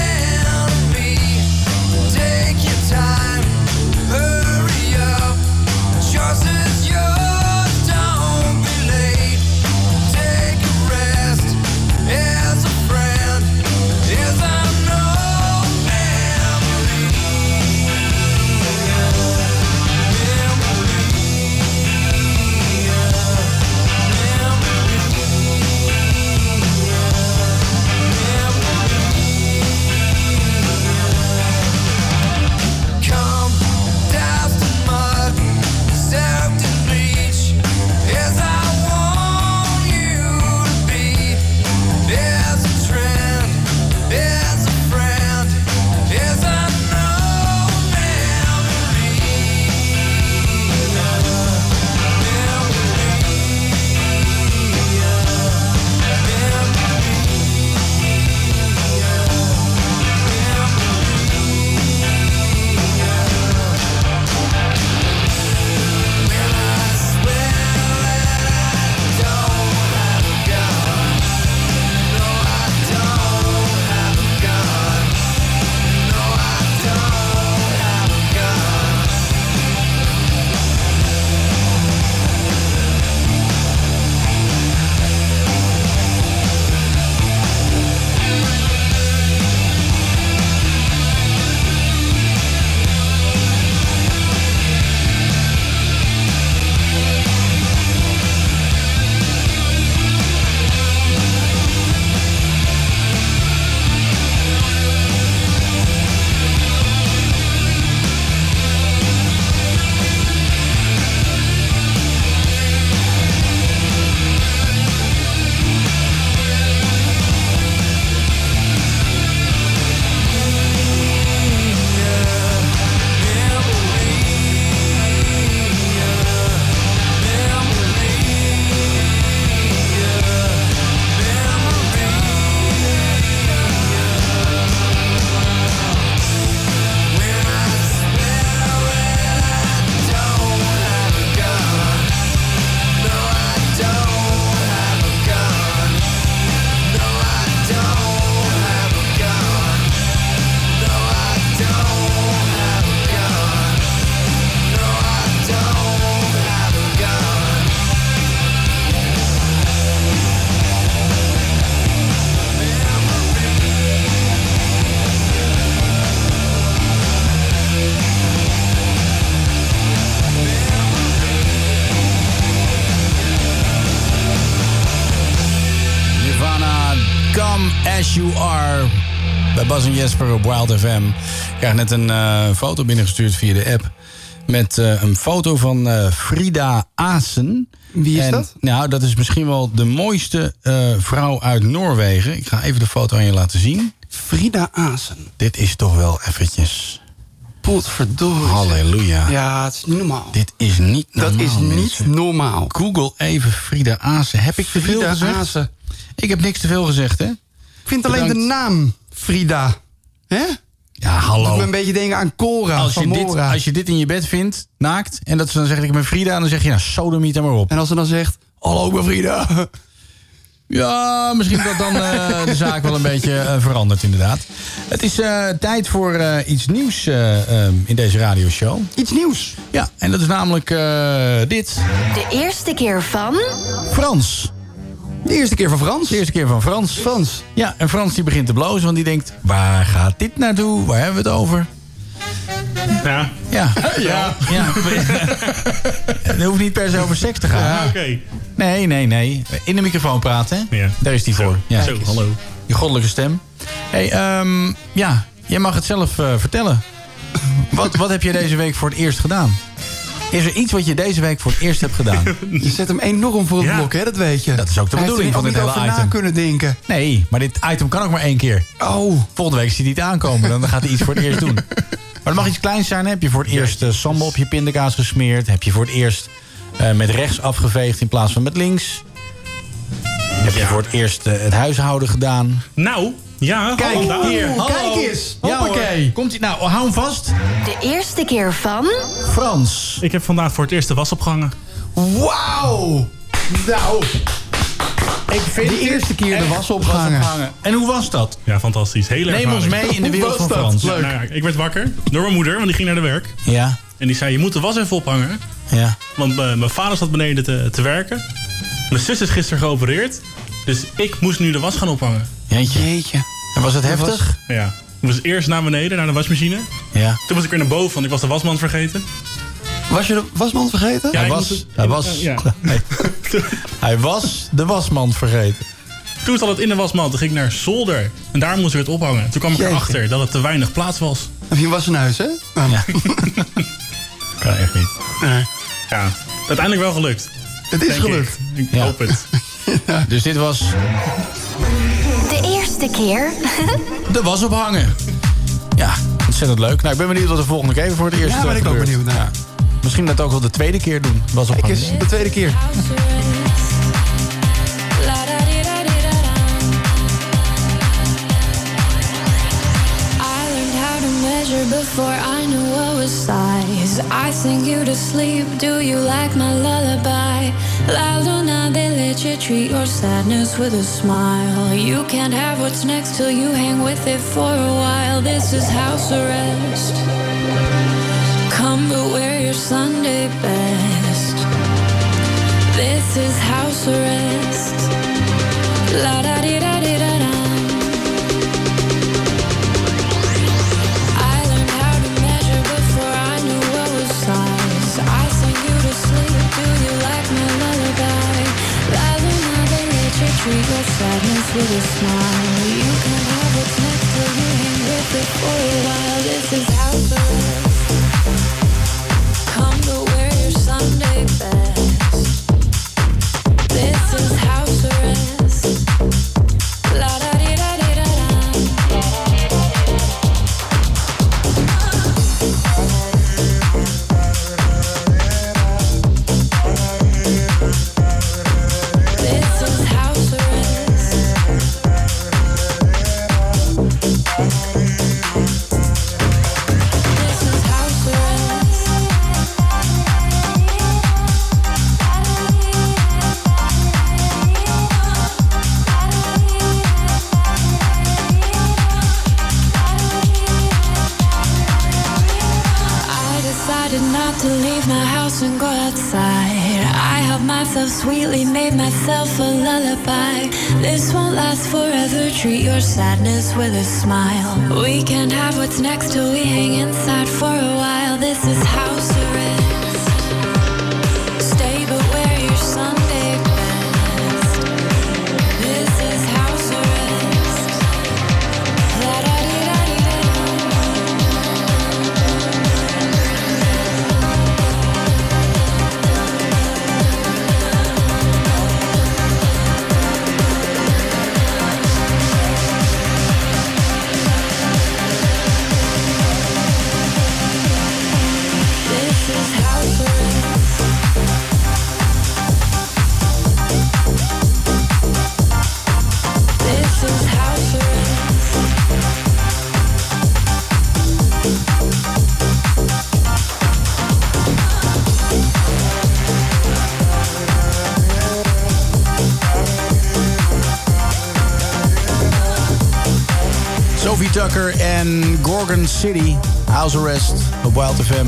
Come As You Are. Bij Bas en Jesper op Wild FM. Ik krijg net een eh, foto binnengestuurd via de app. Met eh, een foto van eh, Frida Asen. Wie is dat? Nou, dat is misschien wel de mooiste eh, vrouw uit Noorwegen. Ik ga even de foto aan je laten zien. Frida Azen. Dit is toch wel eventjes... Potverdorie. Halleluja. Ja, het is niet normaal. Dit is niet normaal. Dat is niet normaal. Google even Frida Azen. Heb ik te veel Frida gezegd? Azen. Ik heb niks te veel gezegd, hè? Ik vind alleen de Bedankt. naam Frida. Hè? Ja, hallo. Doet me een beetje denken aan Cora als je, van dit, Mora. als je dit in je bed vindt, naakt, en dat ze dan zegt ik ben Frida, en dan zeg je, nou, sodomiet er maar op. En als ze dan zegt, hallo, ik ben Frida. [LAUGHS] Ja, misschien dat dan eh, de zaak wel een beetje eh, verandert, inderdaad. Het is eh, tijd voor eh, iets nieuws eh, ehm, in deze radioshow. Iets nieuws? Ja, en dat is namelijk eh, dit. De eerste keer van... Frans. De eerste keer van Frans? De eerste keer van Frans. Frans. Ja, en Frans die begint te blozen, want die denkt... waar gaat dit naartoe? Waar hebben we het over? [LAUGHS] Ja. Ja. Ja. [LAUGHS] Het hoeft niet per se over seks te gaan. Ja, oké. Nee, nee, nee. In de microfoon praten, hè? Daar is die voor. Ja. Zo, hallo. Je goddelijke stem. hey, ehm, ja, jij mag het zelf eh, vertellen. Wat, wat heb je deze week voor het eerst gedaan? Is er iets wat je deze week voor het eerst hebt [LAUGHS] gedaan? Je zet hem enorm voor het Ja. blok, hè? Dat weet je. Dat is ook de Hij bedoeling van heeft dit er hele ook niet over item. na kunnen denken. Nee, maar dit item kan ook maar één keer. Oh. Volgende week ziet hij het aankomen, dan gaat hij iets voor het eerst [LAUGHS] doen. Maar het mag iets kleins zijn. hè? Heb je voor het eerst eh, sambal op je pindakaas gesmeerd? Heb je voor het eerst eh, met rechts afgeveegd in plaats van met links? Heb je voor het eerst eh, het huishouden gedaan? Nou, ja. Kijk hallo daar. hier. Hallo. Kijk eens. Hoppakee. Komt hij nou? Hou hem vast. De eerste keer van... Frans. Ik heb vandaag voor het eerst de was opgehangen. Wauw! Nou, ik vind de eerste keer de was opgehangen. En hoe was dat? Ja, fantastisch. Hele Neem ons ervaring. mee in de Hoe wereld van was dat? Frans. Nou, Leuk. nou ja, ik werd wakker door mijn moeder, want die ging naar de werk. Ja. En die zei, je moet de was even ophangen. Ja. Want eh, mijn vader zat beneden te, te werken. Mijn zus is gisteren geopereerd. Dus ik moest nu de was gaan ophangen. Jeetje. En was het heftig? Ja. Ik moest eerst naar beneden, naar de wasmachine. Ja. Toen moest ik weer naar boven, want ik was de wasmand vergeten. Was je de wasmand vergeten? Ja, hij ik was, moet het- hij was, ja. [LAUGHS] hij, hij was de wasmand vergeten. Toen zat het in de wasmand. Toen ging ik naar zolder. En daar moest ik het ophangen. Toen kwam ik Jeetje. erachter dat het te weinig plaats was. Heb je een was in huis, hè? Ah. [LAUGHS] Kan echt niet. Ja. Uiteindelijk wel gelukt. Het is Denk ik. gelukt. Ik, hoop het. [LAUGHS] Dus dit was De eerste keer. [LAUGHS] de was ophangen. Ja, ontzettend leuk. Nou, ik ben benieuwd wat de volgende keer voor het eerst Ja, ben eh, ik ook gebeurt. benieuwd naar. Ja. Misschien dat ook wel de tweede keer doen. Was Kijk ophangen. eens, de tweede keer. I learned how to measure before I knew what was size. I sing you to sleep. Do you like my lullaby? La luna, they let you treat your sadness with a smile. You can't have what's next till you hang with it for a while. This is house arrest. Come but wear your Sunday best. This is house arrest. La da di da di da da. I learned how to measure before I knew what was size. I sent you to sleep. Do you like my lullaby? Rather now they let you treat your sadness with a smile. You can have what's next to you hang with it for a while. This is house arrest. Come to wear your Sunday best. This is house arrest. La da di da di da da. This is house arrest. This is house arrest. I decided not to leave my house and go outside. I helped myself sweetly, made myself a lullaby. This won't last forever. Treat your sadness with a smile. We can have what's next till we hang inside for a while. This is house arrest. Stay but wear your Sunday best. This is house arrest. houses, houses. Sophie Tucker en Gorgon City. House Arrest op Wild FM.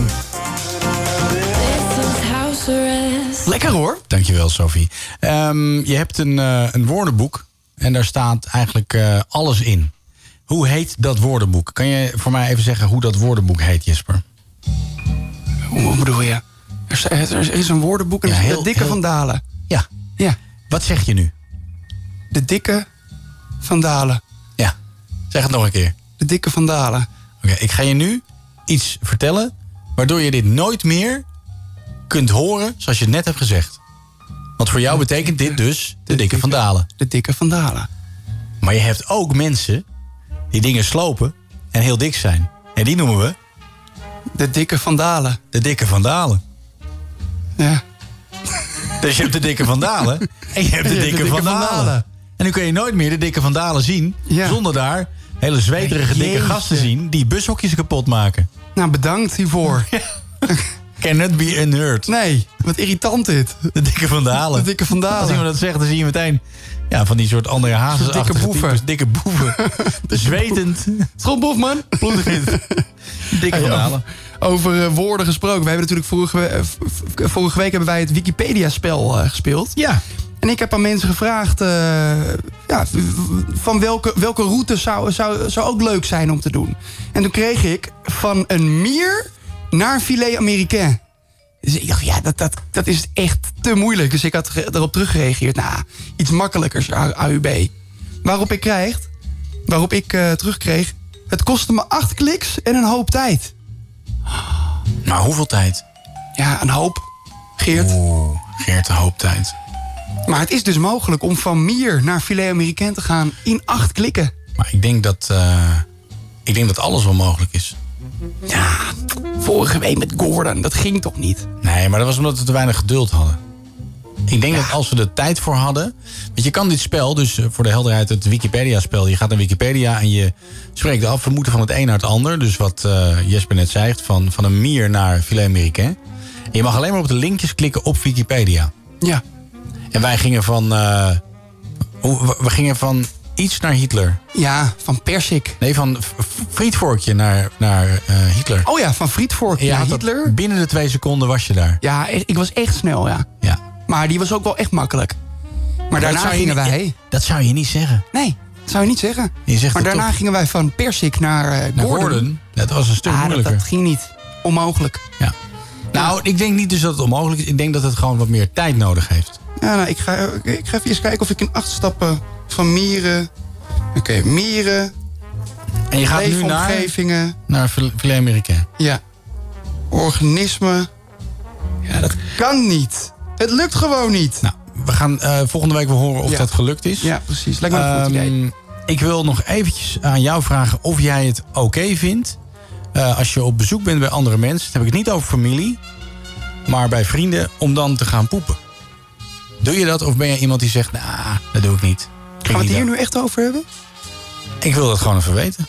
House arrest. Lekker hoor. Dankjewel Sophie. Ehm, je hebt een, eh, een woordenboek en daar staat eigenlijk eh, alles in. Hoe heet dat woordenboek? Kan je voor mij even zeggen hoe dat woordenboek heet, Jesper? Hoe bedoel je? Er is, er is een woordenboek en Ja, er staat heel- de dikke heel- van Dalen. Ja. ja. Wat zeg je nu? De dikke van Dalen. Ja. Zeg het nog een keer. De dikke van Dalen. Oké, ik ga je nu iets vertellen... waardoor je dit nooit meer kunt horen zoals je het net hebt gezegd. Want voor jou betekent dit dus de dikke vandalen. De dikke vandalen. Maar je hebt ook mensen die dingen slopen en heel dik zijn. En die noemen we... De dikke vandalen. De dikke vandalen. Ja. Dus je hebt de dikke vandalen en je hebt de dikke, vandalen. En nu kun je nooit meer de dikke vandalen zien... zonder daar hele zweterige dikke Jeetje. gasten te zien... die bushokjes kapot maken. Nou, bedankt [LAUGHS] hiervoor. Cannot be unheard. Nee, wat irritant dit. De dikke vandalen. De dikke vandalen. Als iemand dat zegt, dan zie je meteen... Ja, van die soort andere hazes. dikke boeven. dikke boeven. Zwetend. Schotboef, man. Dikke Hey, vandalen. Over, over, eh, woorden gesproken. We hebben natuurlijk vorige, we- eh, v- v- vorige week hebben wij het Wikipedia-spel eh, gespeeld. Ja. En ik heb aan mensen gevraagd... eh, ja, v- v- van welke, welke route zou, zou, zou ook leuk zijn om te doen. En toen kreeg ik van een mier naar filet américain. Dus ik dacht, ja, dat, dat, dat is echt te moeilijk. Dus ik had ge- erop teruggereageerd. Nou, iets makkelijkers, A- AUB. Waarop ik krijgt, waarop ik eh, terugkreeg... Het kostte me acht kliks en een hoop tijd. Maar hoeveel tijd? Ja, een hoop. Geert. Oeh, Geert, een hoop tijd. Maar het is dus mogelijk om van Mier naar Filet Americain te gaan in acht klikken. Maar ik denk dat, eh, ik denk dat alles wel mogelijk is. Vorige week met Gordon, dat ging toch niet? Nee, maar dat was omdat we te weinig geduld hadden. Ik denk dat als we er tijd voor hadden... Want je kan dit spel, dus eh, voor de helderheid, het Wikipedia-spel. Je gaat naar Wikipedia en je spreekt af. We moeten van het een naar het ander. Dus wat eh, Jesper net zei, van, van een mier naar filet américain. En je mag alleen maar op de linkjes klikken op Wikipedia. Ja. En wij gingen van... eh, hoe- we- we gingen van iets naar Hitler. Ja, van Persik. Nee, van v- v- frietvorkje naar, naar eh, Hitler. Oh ja, van frietvorkje Ja, naar dat- Binnen de twee seconden was je daar. Ja, e- ik was echt snel, ja. Ja. Maar die was ook wel echt makkelijk. Maar, daarna zou je gingen niet- wij... dat zou je niet zeggen. Nee, dat zou je niet zeggen. Je zegt maar het daarna toch. gingen wij van Persik naar, eh Naar Gordon. Gordon? Dat was een stuk Ah, dat- moeilijker. Dat, ging niet. Onmogelijk. Ja. Nou, ik denk niet dus dat het onmogelijk is. Ik denk dat het gewoon wat meer tijd nodig heeft. Ja, nou, ik, ga, ik ga even eens kijken of ik in acht stappen van Mieren... Oké, Mieren... En je gaat nu naar- leefomgevingen, Naar Fil- Filet Americain. Ja. Organismen. Ja, dat kan niet. Het lukt gewoon niet. Nou, we gaan eh, volgende week wel horen of Ja. dat gelukt is. Ja, precies. Lijkt me een goed Ehm, Ik wil nog eventjes aan jou vragen of jij het oké vindt... eh, als je op bezoek bent bij andere mensen... dan heb ik het niet over familie, maar bij vrienden... om dan te gaan poepen. Doe je dat of ben je iemand die zegt... nou, dat doe ik niet. Gaan we het hier nu echt over hebben? Ik wil dat gewoon even weten.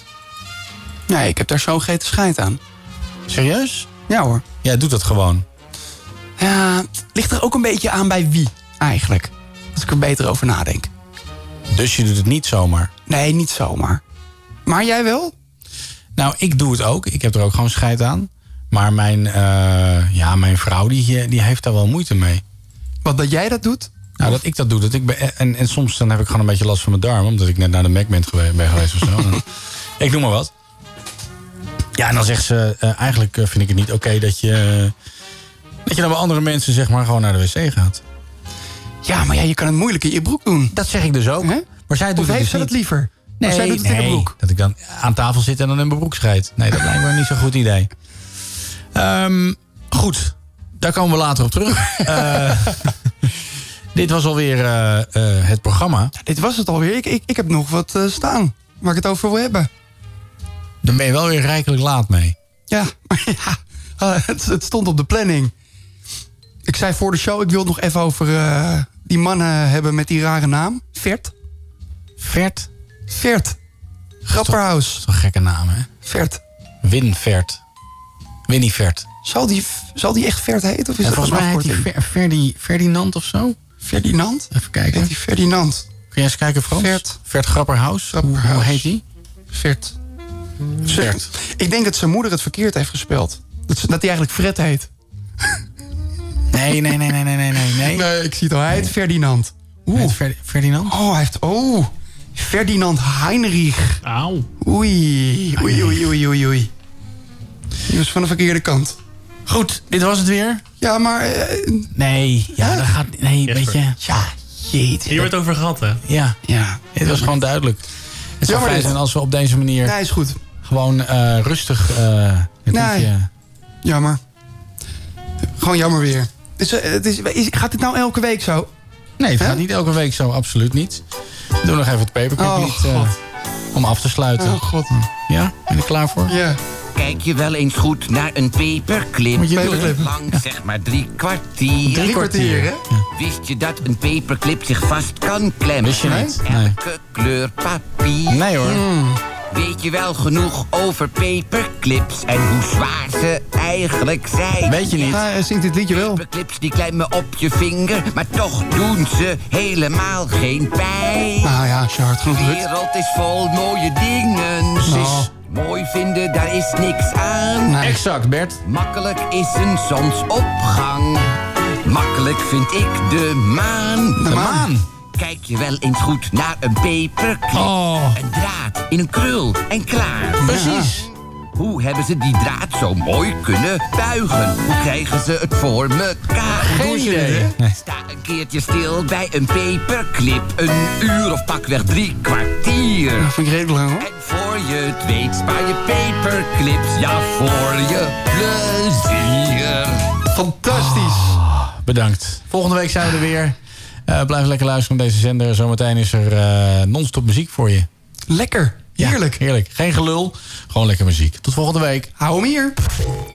Nee, ik heb daar zo'n gete scheid aan. Serieus? Ja hoor. Jij doet dat gewoon. Ja, het ligt er ook een beetje aan bij wie eigenlijk. Als ik er beter over nadenk. Dus je doet het niet zomaar? Nee, niet zomaar. Maar jij wel? Nou, ik doe het ook. Ik heb er ook gewoon scheid aan. Maar mijn, eh, ja, mijn vrouw die, eh, die heeft daar wel moeite mee. Wat dat jij dat doet? Nou, dat ik dat doe. Dat ik ben, en, en soms dan heb ik gewoon een beetje last van mijn darm. Omdat ik net naar de Mac ben geweest, ben geweest of [LAUGHS] zo. ik noem maar wat. Ja, en dan zegt ze... eh, eigenlijk eh, vind ik het niet oké dat je... eh, dat je dan bij andere mensen zeg maar gewoon naar de wc gaat. Ja, maar ja, je kan het moeilijk in je broek doen. Dat zeg ik dus ook. Maar zij doet of het heeft dus ze dat niet. liever? Nee, zij doet het in nee, de broek. Dat ik dan aan tafel zit en dan in mijn broek schijt. Nee, dat lijkt me niet zo'n goed idee. Ehm, goed, daar komen we later op terug. Eh, [LAUGHS] dit was alweer eh, eh, het programma. Dit was het alweer. Ik, ik, ik heb nog wat eh, staan waar ik het over wil hebben. Dan ben je wel weer rijkelijk laat mee. Ja, [LAUGHS] maar ja, eh, het, het stond op de planning. Ik zei voor de show, ik wil het nog even over eh, die mannen hebben met die rare naam. Vert. Vert? Vert. Grapperhaus. Zo'n gekke naam, hè? Vert. Winvert. Winnie Vert. Zal die, zal die echt Vert heten? Of is Ja, dat volgens een mij heet die afkorting? Verdi, Ferdinand of zo? Ferdinand? Even kijken. Heet die Ferdinand? Kun jij eens kijken, Frans? Vert. Vert Grapperhaus. Hoe heet die? Vert. Vert. Ik denk dat zijn moeder het verkeerd heeft gespeld. Dat, ze- dat hij eigenlijk Fred heet. [LAUGHS] Nee, nee, nee, nee, nee, nee, nee. Nee, ik zie het al. Hij heet Ferdinand. Oeh. Ferdinand? Oh, hij heeft... Oh. Ferdinand Heinrich. Auw. Oei. Oei, oei, oei, oei, oei. Die was van de verkeerde kant. Goed, dit was het weer. Ja, maar... eh, Nee, ja, dat gaat... Nee, weet je... Ja, jeetje. Hier werd over gehad, hè? Ja. ja. Het was gewoon duidelijk. Het zou Jammer fijn dit. zijn als we op deze manier... Nee, is goed. Gewoon eh, rustig... eh dit Nee. liedje- Jammer. Gewoon jammer weer. Dus, eh, het is, is- gaat dit nou elke week zo? Nee, het gaat niet elke week zo. Absoluut niet. Doe nog even het paperclip Oh, lied, eh, God. om af te sluiten. Oh, god. Ja, ben je er klaar voor? Ja. Kijk je wel eens goed naar een paperclip? Moet je Paperclip. doen. Lang, zeg maar drie kwartier. Drie kwartier, hè? Wist je dat een paperclip zich vast kan klemmen? Wist je niet? Met Nee. Elke kleur papier. Hmm. Nee, hoor. Hmm. Weet je wel genoeg over paperclips en hoe zwaar ze eigenlijk zijn? Weet je niet? Ja, hij zingt dit liedje wel. Paperclips die klemmen op je vinger, maar toch doen ze helemaal geen pijn. Nou ja, als je hard genoeg De drukt. wereld is vol mooie dingen. Dus mooi vinden, daar is niks aan. Nou. Exact, Bert. Makkelijk is een zonsopgang. Makkelijk vind ik de maan. De, maan. Kijk je wel eens goed naar een paperclip. Een draad in een krul en klaar. Oh. Precies. Hoe hebben ze die draad zo mooi kunnen buigen? Hoe krijgen ze het voor mekaar? Geen idee. Sta een keertje stil bij een paperclip. Een uur of pakweg drie kwartier. Dat vind ik redelijk lang, hoor. Voor je het weet spaar je paperclips. Ja, voor je plezier. Fantastisch. Ah, Bedankt. Volgende week zijn we er weer. Eh, blijf lekker luisteren naar deze zender. Zometeen is er eh, non-stop muziek voor je. Lekker. Heerlijk. heerlijk. Geen gelul. Gewoon lekker muziek. Tot volgende week. Hou hem hier.